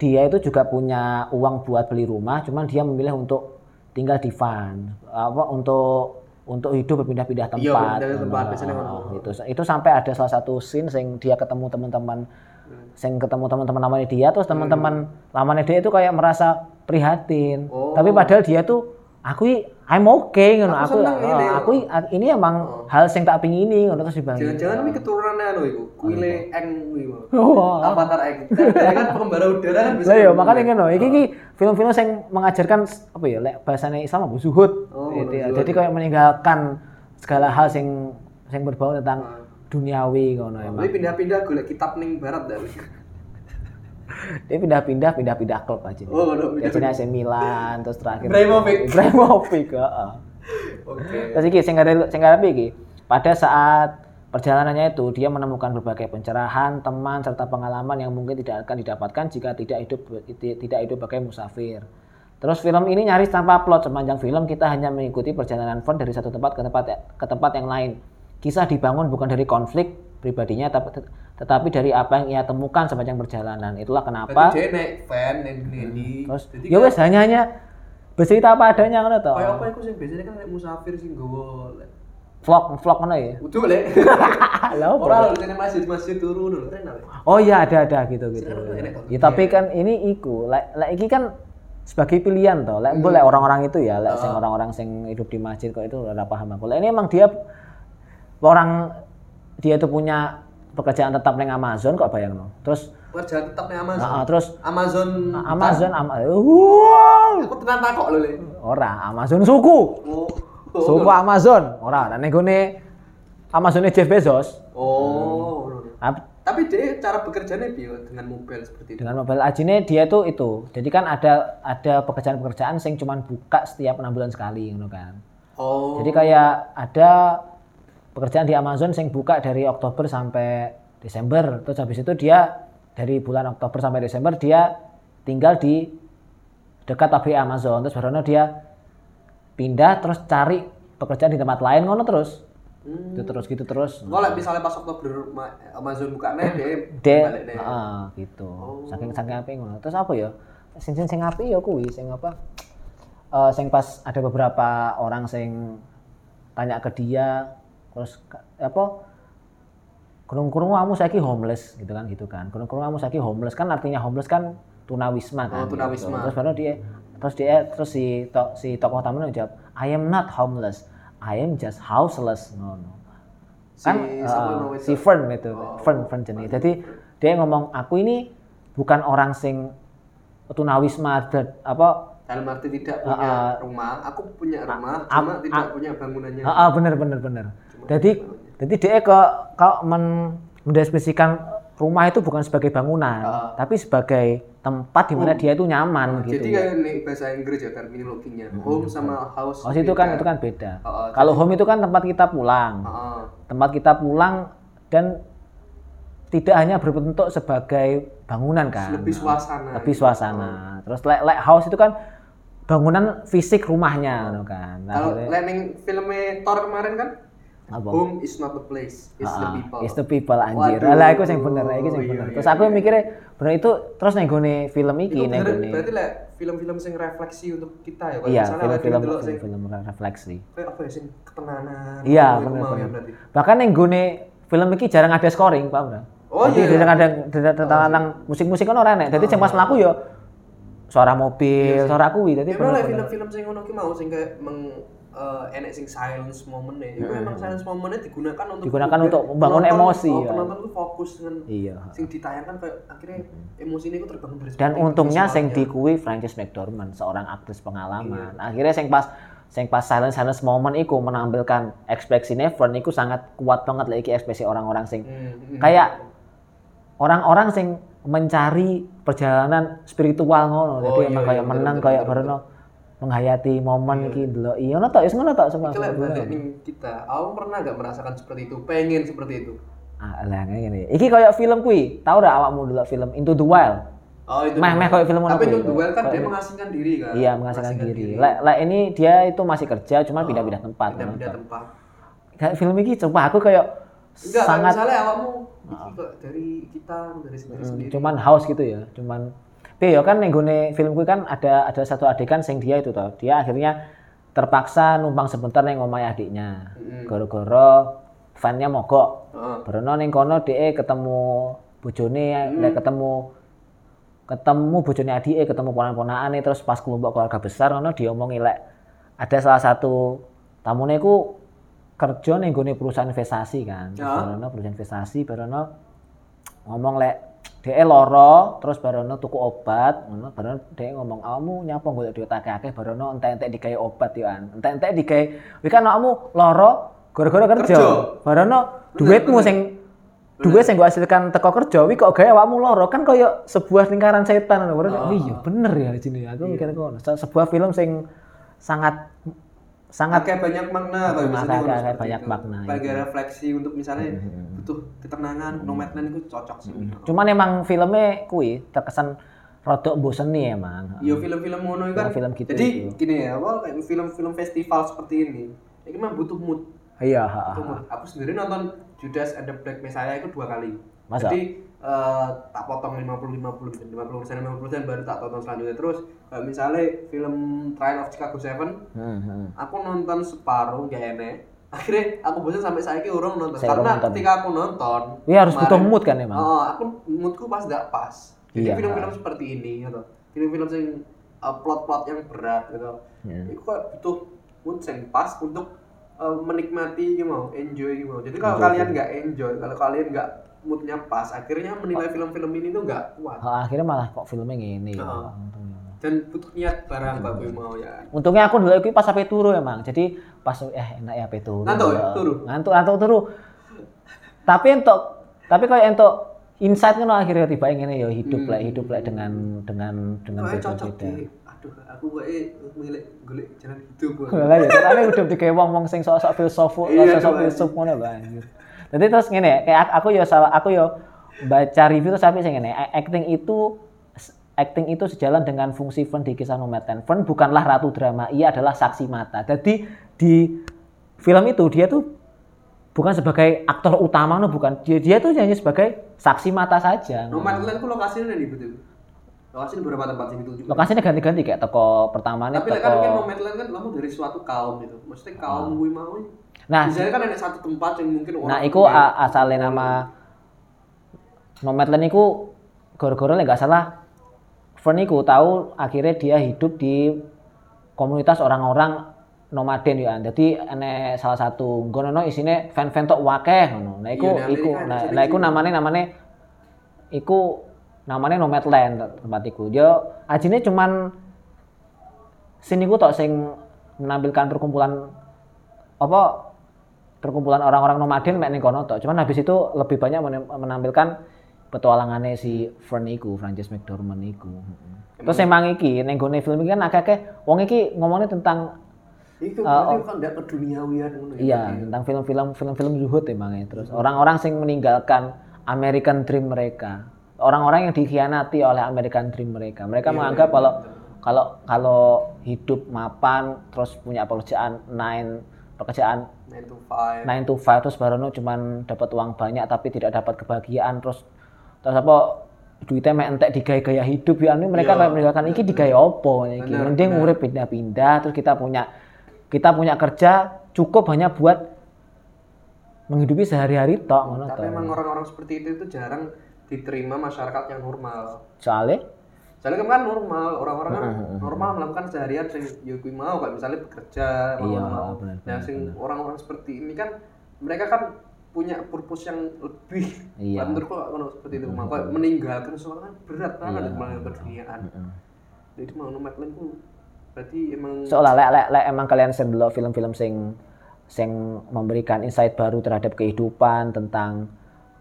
S2: dia itu juga punya uang buat beli rumah, cuman dia memilih untuk tinggal di van apa untuk untuk hidup berpindah-pindah tempat.
S1: Iya, berpindah-pindah
S2: Nah,
S1: tempat,
S2: nah,
S1: biasanya kan.
S2: nah, itu itu sampai ada salah satu scene sing dia ketemu teman-teman
S1: Hmm.
S2: sing ketemu teman-teman lamanya dia terus teman-teman lamanya dia itu kayak merasa prihatin.
S1: Oh.
S2: Tapi padahal dia tuh aku i- I'm okay ngono.
S1: Aku
S2: Aku
S1: seneng
S2: oh,
S1: ini. Oh.
S2: aku i- a- ini emang hal sing tak pingini ngono terus dibagi.
S1: Jangan-jangan ini keturunannya anu iku, kuile eng kuwi mau.
S2: Wah.
S1: Avatar eng. Kan dia kan pengembara udara kan bisa.
S2: iya. Lah ya makane ngono. Iki iki film-film sing mengajarkan s- apa ya lek bahasane Islam apa zuhud.
S1: Oh,
S2: Gitu ya.
S1: zuhud.
S2: Jadi kayak meninggalkan segala hal sing sing berbau tentang
S1: Nah,
S2: duniawi ngono ya, emang.
S1: Tapi pindah-pindah golek kitab ning barat dah. Oh,
S2: Dia pindah-pindah pindah-pindah klub aja.
S1: Oh, ngono
S2: Ya
S1: pindah.
S2: jenis AC Milan terus terakhir
S1: Ibrahimovic.
S2: Ibrahimovic, heeh.
S1: Oke.
S2: Terus iki sing ngarep sing ngarep iki, pada saat perjalanannya itu dia menemukan berbagai pencerahan, teman serta pengalaman yang mungkin tidak akan didapatkan jika tidak hidup tidak hidup pakai musafir. Terus film ini nyaris tanpa plot sepanjang film kita hanya mengikuti perjalanan Fern dari satu tempat ke tempat ke tempat yang lain. Kisah dibangun bukan dari konflik pribadinya tapi tetapi dari apa yang ia temukan sepanjang perjalanan. Itulah kenapa
S1: Jadi dia naik van dan gini.
S2: Terus
S1: Jadi
S2: ya wes hanya hanya bercerita apa adanya ngono to.
S1: kayak apa iku sing biasanya kan naik musafir sing gowo. lek.
S2: Vlog vlog ngono ya.
S1: Udah lek.
S2: Lah apa?
S1: Ora lho tenan masjid-masjid turu lho tenan lek.
S2: Oh iya ada ada gitu gitu.
S1: Sekarang enak kok.
S2: Ya tapi kan ini iku lek lek iki kan sebagai pilihan toh. Lek mbok lek orang-orang itu ya, lek sing orang-orang sing hidup di masjid kok itu ora paham aku. Lek ini emang dia orang dia itu punya pekerjaan tetap neng Amazon kok bayangno. Terus
S1: Kerja tetap nih Amazon.
S2: ah, ah, terus
S1: Amazon.
S2: Amazon ama wow,
S1: Aku tenan takok lho lek.
S2: ora Amazon suku.
S1: Oh.
S2: Suku Amazon. Ora, nek gone Amazone Jeff Bezos
S1: Oh. ngono.
S2: Ab-
S1: Tapi dia cara bekerjanya piye dengan mobile seperti itu?
S2: dengan mobile ajine dia tuh itu jadi kan ada ada pekerjaan-pekerjaan yang cuman buka setiap enam bulan sekali gitu kan
S1: Oh.
S2: jadi kayak ada pekerjaan di Amazon yang buka dari Oktober sampai Desember terus habis itu dia dari bulan Oktober sampai Desember dia tinggal di dekat pabrik Amazon terus baru dia pindah terus cari pekerjaan di tempat lain ngono terus
S1: Hmm.
S2: itu terus gitu terus
S1: Kalau misalnya pas Oktober ma- Amazon buka nih, dia Oh.
S2: de
S1: balik nih.
S2: ah, gitu saking saking apik ngono terus apa ya sing sing sing apik ya kuwi sing apa Eh sing pas ada beberapa orang sing tanya ke dia terus ka- apa kurung-kurung kamu saiki homeless gitu kan gitu kan kurung-kurung kamu saiki homeless kan artinya homeless kan tunawisma kan
S1: Oh, tunawisma.
S2: gitu. terus baru dia terus dia terus si to- si tokoh tamu jawab I am not homeless I am just houseless no, no
S1: Si
S2: kan
S1: sama
S2: eh,
S1: mau itu. Oh.
S2: si Fern itu Fern Fern jenis jadi dia ngomong aku ini bukan orang sing tunawisma de- apa
S1: Dalam arti tidak punya rumah, aku punya rumah, cuma tidak punya bangunannya.
S2: ah, ah, bener bener bener jadi jadi dia ke kau men mendeskripsikan rumah itu bukan sebagai bangunan tapi sebagai tempat di mana dia itu
S1: Ah. Oh.
S2: nyaman gitu Hmm,
S1: Jadi kayak nih bahasa Inggris ya terminologinya, home sama house.
S2: oh itu kan itu kan beda
S1: Ah, ah,
S2: kalau home itu kan tempat kita pulang
S1: ah, ah.
S2: tempat kita pulang dan tidak hanya berbentuk sebagai bangunan kan
S1: lebih suasana.
S2: lebih suasana terus like, like house itu kan bangunan fisik rumahnya gitu kan Nah,
S1: Ah. Kalau
S2: akhirnya,
S1: landing filmnya Thor kemarin kan,
S2: apa?
S1: home is not the place, it's the
S2: Ah,
S1: people.
S2: it's the people anjir
S1: Waduh.
S2: lah aku yang bener aku yang
S1: Iya,
S2: bener
S1: iya,
S2: terus aku mikirnya bener itu terus nenggone film iki
S1: Itu bener-
S2: nenggone
S1: berarti lah film-film yang refleksi untuk kita ya. Kalau
S2: iya
S1: misalnya ada
S2: film-film
S1: delok sing
S2: film refleksi
S1: kayak apa ya sing ketenanan.
S2: Iya,
S1: Iku
S2: bener,
S1: mau ya
S2: bener.
S1: berarti.
S2: bahkan nenggone film iki jarang ada scoring paham nggak?
S1: Oh, Ah.
S2: Jadi
S1: iya,
S2: jarang ada tidak tentang musik-musik kan orang nek jadi yang pas melaku ya suara mobil suara kuwi jadi
S1: Emang lah Ya, film-film sing ngono ki mau sing kayak meng eh, enek sing silence moment ya. Itu emang silence momentnya digunakan untuk
S2: Hmm. Digunakan
S1: juga
S2: untuk membangun
S1: penonton-
S2: emosi,
S1: oh,
S2: ya.
S1: penonton tuh fokus dengan
S2: iya Hmm.
S1: sing ditayangkan kayak akhirnya emosi ini ku terbangun dari ya.
S2: dan
S1: seperti itu
S2: untungnya
S1: semuanya.
S2: sing dikui Frances McDormand seorang aktris
S1: Iya.
S2: pengalaman akhirnya sing pas sing pas silence silence moment iku menampilkan ekspresi Fern iku sangat kuat banget lagi ekspresi orang-orang sing
S1: Hmm, hmm.
S2: kayak orang-orang sing mencari perjalanan spiritual ngono
S1: Oh, iya,
S2: jadi emang
S1: iya,
S2: kayak
S1: betul,
S2: menang
S1: betul,
S2: kayak
S1: betul,
S2: barono menghayati momen iki ndelok iya ngono tok wis ngono tok semua
S1: Itu lah balik ning kita. Awang pernah gak merasakan seperti itu? Pengen seperti itu.
S2: ah lah ngene iki kayak film kuwi tau ora awakmu ndelok film Into the Wild
S1: Oh itu.
S2: meh meh kayak film
S1: Tapi
S2: kuwi.
S1: itu duel kan
S2: Kayak
S1: dia
S2: ini.
S1: mengasingkan diri kan.
S2: iya mengasingkan diri lek lek ini dia itu masih kerja cuma pindah-pindah tempat
S1: Oh, Pindah-pindah
S2: menonton.
S1: tempat.
S2: kayak film ini coba aku kayak
S1: Enggak, kan
S2: sangat Ah.
S1: misalnya awakmu iki kok dari kita dari sendiri sendiri.
S2: cuman haus gitu ya cuman tapi ya kan nenggone film kuwi kan ada ada satu adegan sing dia itu toh dia akhirnya terpaksa numpang sebentar neng omahe adiknya
S1: Mm-mm.
S2: gara-gara fannya mogok
S1: Heeh.
S2: Berono ning kono dhek ketemu bojone lek ketemu ketemu bojone adike ketemu ponan-ponakane terus pas kelompok keluarga besar ngono diomongi lek ada salah satu tamune iku kerja ning nggone perusahaan investasi kan.
S1: Ya.
S2: Barono perusahaan investasi barono ngomong lek dhek loro terus barono tuku obat ngono barono dhek ngomong kamu nyapa golek duit akeh-akeh barono entek-entek digawe obat yo an. Entek-entek digawe wis kan awakmu loro gara-gara kerja.
S1: Kerja.
S2: Barono duitmu sing duit sing gue hasilkan teko kerja wi kok gawe awakmu loro kan koyo sebuah lingkaran setan lho. Barono iya bener ya di sini
S1: Iya.
S2: aku mikir ngono. Se- Sebuah film sing sangat sangat
S1: Kayak banyak makna atau misalnya
S2: Makna,
S1: kalau
S2: kayak
S1: seperti
S2: banyak Hmm,
S1: itu.
S2: makna,
S1: Kayak refleksi untuk misalnya butuh ketenangan,
S2: Hmm.
S1: nomadland itu cocok sih.
S2: Cuman emang filmnya kui terkesan rodok nih emang.
S1: Iya film-film ngono itu kan.
S2: Film-film gitu
S1: Jadi
S2: itu.
S1: gini ya, awal kayak film-film festival seperti ini. Ini mah butuh mood.
S2: Iya, ha, ha,
S1: Butuh
S2: ha.
S1: mood. Aku sendiri nonton Judas and the Black Messiah itu dua kali.
S2: Masa?
S1: Jadi eh, tak potong 50 50 50 persen 50 persen baru tak tonton selanjutnya terus eh, misalnya film Trial of Chicago 7
S2: Hmm, hmm.
S1: aku nonton separuh gak enak akhirnya aku bosan sampai saya ini urung nonton
S2: Saya
S1: karena
S2: urung nonton.
S1: ketika aku nonton
S2: Iya harus butuh
S1: kemarin,
S2: mood kan emang.
S1: Oh, aku moodku pas gak pas. Jadi
S2: Iya.
S1: film-film seperti ini gitu. Film-film sing uh, plot-plot yang berat gitu.
S2: Hmm.
S1: Itu kok butuh mood yang pas untuk uh, menikmati gitu mau, enjoy gitu. mau. Jadi kalau
S2: Enjoy, ya.
S1: kalian nggak enjoy, kalau kalian nggak moodnya pas, akhirnya menilai film-film ini tuh nggak kuat.
S2: Ha, Akhirnya malah kok filmnya gini.
S1: Oh. Dan butuh niat barang Pak Boy mau ya.
S2: Untungnya aku dulu kui pas sampai turu emang. Jadi pas eh enak ya sampai turu.
S1: Ngantuk ya,
S2: Ya.
S1: turu?
S2: Ngantuk ngantuk turu. tapi entuk tapi kayak entuk insight ngono akhirnya tiba ngene ya hidup
S1: Hmm.
S2: lek hidup lek dengan dengan dengan
S1: Soalnya Nah, cocok
S2: beda-beda.
S1: di aduh aku kayak milik golek jalan hidup. gua.
S2: Lah ya, tapi udah dikei wong-wong sing sok-sok filsuf,
S1: Iya,
S2: sok-sok
S1: coba.
S2: filsuf ngono lho anjir. Jadi terus ngene ya, kayak aku ya salah aku ya baca review terus sampai sing ngene, a- acting itu acting itu sejalan dengan fungsi Fern di kisah nomor 10. Fern bukanlah ratu drama, ia adalah saksi mata. Jadi di film itu dia tuh bukan sebagai aktor utama no bukan dia dia tuh hanya sebagai saksi mata saja. no.
S1: Nomadland ku lokasinya udah di betul. Lokasinya beberapa tempat sih itu juga.
S2: Lokasinya ganti-ganti kayak teko pertamanya
S1: tapi lah kan kan
S2: teko
S1: nomadland kan kamu dari suatu kaum gitu maksudnya kaum gue mau
S2: nah
S1: misalnya kan ada satu tempat yang mungkin orang
S2: Ah. Nah, iku
S1: punya.
S2: a- asale nama Nomadland iku gara-gara lek gak salah Fern iku tahu akhirnya dia hidup di komunitas orang-orang nomaden ya. Jadi ene salah satu nggono no isine fan-fan tok wakeh ngono. Nah, iku
S1: Iya, di
S2: iku
S1: Amerika
S2: nah,
S1: ada
S2: nah, iku
S1: sering.
S2: namane namane iku namanya Nomadland tempat iku. Yo ajine cuman sini gue tok sing menampilkan perkumpulan apa perkumpulan orang-orang nomaden mek ning kono tok. Cuman habis itu lebih banyak menem- menampilkan petualangannya si Fern iku, Frances McDormand iku. Terus emang iki ning gone film iki kan akeh-akeh wong iki ngomongnya tentang
S1: itu berarti kan tidak keduniawian gitu ya.
S2: Ah, oh. iya, tentang film-film film-film zuhud emangnya. Terus orang-orang sing meninggalkan American Dream mereka. Orang-orang yang dikhianati oleh American Dream mereka.
S1: Iya,
S2: Mereka menganggap kalau kalau kalau hidup mapan terus punya pekerjaan nine pekerjaan
S1: nine to five
S2: 9 to 5 terus barono cuman dapat uang banyak tapi tidak dapat kebahagiaan terus terus apa duitnya mek entek digaya gaya hidup ya anu mereka
S1: Iya.
S2: kayak meninggalkan iki digaya opo iki
S1: Bener,
S2: mending
S1: bener.
S2: urip pindah-pindah terus kita punya kita punya kerja cukup hanya buat menghidupi sehari-hari tok ngono
S1: tapi
S2: tok
S1: emang orang-orang seperti itu itu jarang diterima masyarakat yang normal
S2: soalnya
S1: soalnya kan normal orang-orang
S2: Hmm,
S1: kan normal melakukan seharian sing ya gue mau kayak misalnya bekerja
S2: Iya,
S1: mau-
S2: benar,
S1: nah
S2: benar,
S1: sing orang-orang seperti ini kan mereka kan punya purpose yang lebih Lah,
S2: Iya.
S1: menurutku kalau kalau seperti itu maka meninggalkan seorang kan berat banget
S2: Iya,
S1: meninggalkan keduniaan jadi mau nomadland tuh berarti emang
S2: seolah lek lek lek emang kalian sering delok film-film sing sing memberikan insight baru terhadap kehidupan tentang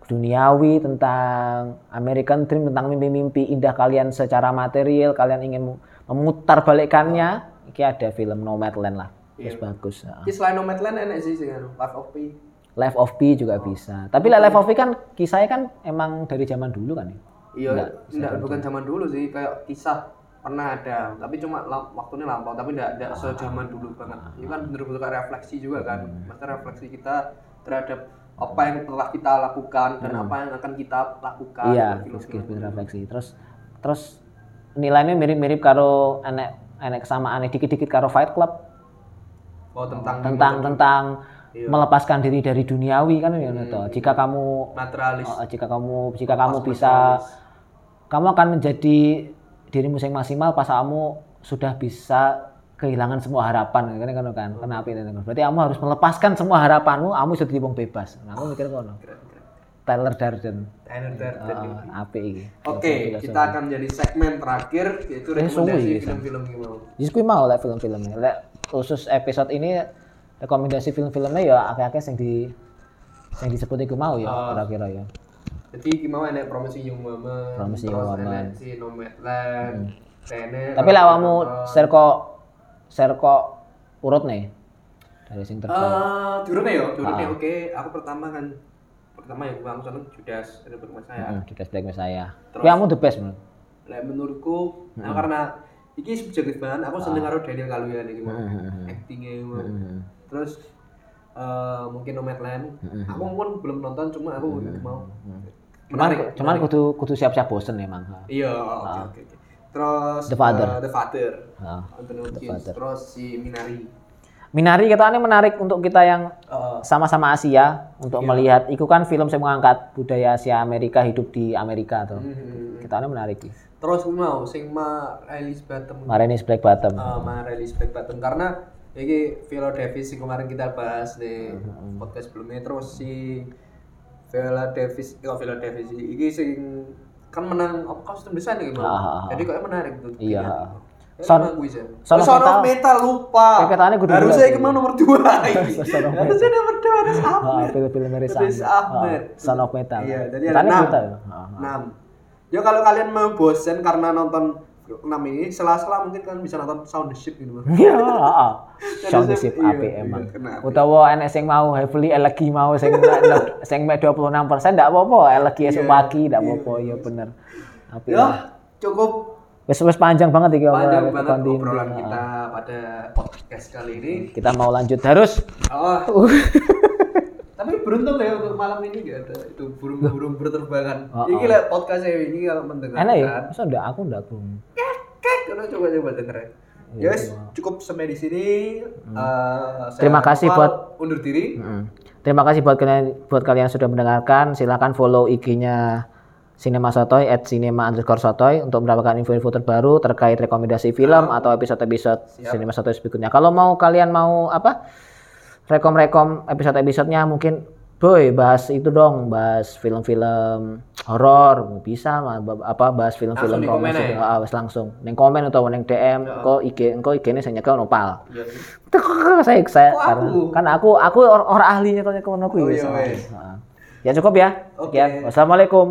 S2: duniawi tentang American Dream tentang mimpi-mimpi indah kalian secara material kalian ingin memutar balikannya iki ada film Nomadland lah
S1: ya, Iya.
S2: terus bagus
S1: Tapi selain nomadland enak sih sih kan life of Pi
S2: Life of Pi juga bisa tapi lah Life of Pi kan kisahnya kan emang dari zaman dulu kan ya
S1: Iya,
S2: Nggak,
S1: enggak,
S2: saya
S1: bukan zaman dulu sih, kayak kisah pernah ada, tapi cuma lam- waktunya lampau, tapi enggak enggak
S2: Ah.
S1: sejaman dulu banget. Itu kan bener-bener kayak refleksi juga kan.
S2: Hmm.
S1: Maksudnya refleksi kita terhadap apa yang telah kita lakukan dan apa yang akan kita lakukan.
S2: Hmm.
S1: gitu
S2: iya
S1: Film-film.
S2: film refleksi terus terus nilainya mirip-mirip karo anak anak sama aneh dikit-dikit karo Fight Club
S1: Bahwa Oh, tentang
S2: tentang tentang
S1: Iya. Hmm.
S2: melepaskan diri dari duniawi kan ya toh. jika kamu
S1: naturalis.
S2: eh, jika kamu jika kamu bisa kamu akan menjadi dirimu yang maksimal pas kamu sudah bisa kehilangan semua harapan kan kan
S1: Hmm.
S2: kan kenapa itu kan? berarti kamu harus melepaskan semua harapanmu kamu sudah jadi wong bebas nah, aku mikir kono Tyler Durden
S1: Tyler Durden.
S2: Eh, apik iki
S1: Oke, kita akan jadi segmen terakhir yaitu
S2: Ini sungguh
S1: rekomendasi
S2: ya,
S1: film-film gimana.
S2: Jadi kui mau lek film-filmnya. Lek khusus episode ini rekomendasi film-filmnya ya akeh-akeh sing di sing disebut iku mau ya
S1: Ah.
S2: kira-kira ya.
S1: Jadi gimana enak promosi Young Woman,
S2: Promising
S1: terus
S2: Young Woman.
S1: enak si Nomadland, enak
S2: Tapi lek awakmu
S1: Eh,
S2: share kok share kok urut nih dari sing terbaik.
S1: Eh, turunnya ya, turunnya
S2: Ah.
S1: oke. Aku pertama kan pertama yang gue langsung seneng Judas ada berumah saya.
S2: Hmm, Judas Black Messiah.
S1: Eh, ya. Terus?
S2: Kui kamu the best menurut.
S1: Lah menurutku, nah,
S2: Hmm.
S1: karena iki subjektif banget. Aku seneng karo Daniel Kaluuya nih gimana
S2: Ah. Hmm,
S1: actingnya, gimana.
S2: hmm, hmm.
S1: terus eh, mungkin Nomadland. Aku pun belum nonton, cuma aku mau
S2: Hmm. Cuman
S1: menarik.
S2: cuman kudu kudu siap-siap bosen emang. Ha.
S1: Iya, oke oke. oke. Terus
S2: The Father.
S1: eh, The Father.
S2: Ha.
S1: Anthony Hopkins. Terus si Minari.
S2: Minari ketahuannya menarik untuk kita yang
S1: Eh,
S2: sama-sama Asia untuk
S1: Iya.
S2: melihat itu kan film yang mengangkat budaya Asia Amerika hidup di Amerika tuh.
S1: mm,
S2: Ketahuannya menarik sih.
S1: terus gue mau sing ma Alice Bottom
S2: Marinis Black Bottom.
S1: eh, ma Alice Black Bottom karena ini Viola Davis yang kemarin kita bahas di
S2: Hmm,
S1: podcast sebelumnya terus si Viola Davis oh Viola Davis ini sing kan menang apa kostum desain ya
S2: Ah, ah,
S1: gimana jadi kok menarik tuh Eh,
S2: Iya. Son-
S1: Son,
S2: Son
S1: Son, of
S2: of
S1: Metal lupa.
S2: Kayak ketahuannya kudu
S1: Harusnya
S2: dua
S1: ini mah nomor dua. Harusnya nomor dua harus
S2: Ah,
S1: update.
S2: film-film dari
S1: Riz Ahmed.
S2: Son of Metal.
S1: Iya, jadi ada
S2: Ketahuannya
S1: enam.
S2: kita ya. Ah, ah.
S1: 6. Ya kalau kalian mau bosen karena nonton 6 ini, sela-sela mungkin kalian bisa nonton Sound the Ship gitu.
S2: Iya, ah, ah. Sound
S1: Harusnya-
S2: sip
S1: iya,
S2: apik
S1: iya,
S2: emang.
S1: kena apik.
S2: Utawa enek sing mau heavily elegi mau sing sing mek 26% ndak apa-apa, elegi esuk pagi ndak apa-apa, ya bener. Apik.
S1: Ya, cukup
S2: Wis wis panjang banget iki
S1: panjang
S2: obrolan-
S1: banget
S2: kontin-
S1: obrolan kita pada podcast kali ini.
S2: Kita mau lanjut terus.
S1: Oh,
S2: Uh.
S1: tapi beruntung ya untuk malam ini gak ada itu burung-burung berterbangan. Ini lah podcast saya ini kalau Ya, mendengar.
S2: Oh, Enak ya? Masa ndak aku ndak belum.
S1: Karena coba-coba
S2: Iya,
S1: dengerin. Ya wes, cukup sampai di sini. Eh, saya
S2: Hmm. Terima kasih
S1: Noval,
S2: buat-
S1: undur diri.
S2: Mm. Terima kasih buat kalian buat kalian yang sudah mendengarkan. Silakan follow IG-nya Cinema Sotoy at cinema underscore sotoy untuk mendapatkan info-info terbaru terkait rekomendasi film atau episode-episode Cinema Sotoy berikutnya. Kalau mau kalian mau apa rekom-rekom episode-episodenya mungkin boy bahas itu dong, bahas film-film horor bisa ma- ba- apa bahas film-film
S1: Langsung di komen ya?
S2: promosi. Ah, wes langsung. Neng komen atau neng DM, engko IG, engko IG-ne sing nyekel nopal.
S1: Ya.
S2: saya saya
S1: Kok
S2: karena
S1: aku?
S2: kan aku aku or- orang ahlinya kalau aku
S1: Oh, iya,
S2: ya. sama.
S1: wes.
S2: Heeh. Ya cukup ya.
S1: Oke.
S2: Sekian. Wassalamualaikum.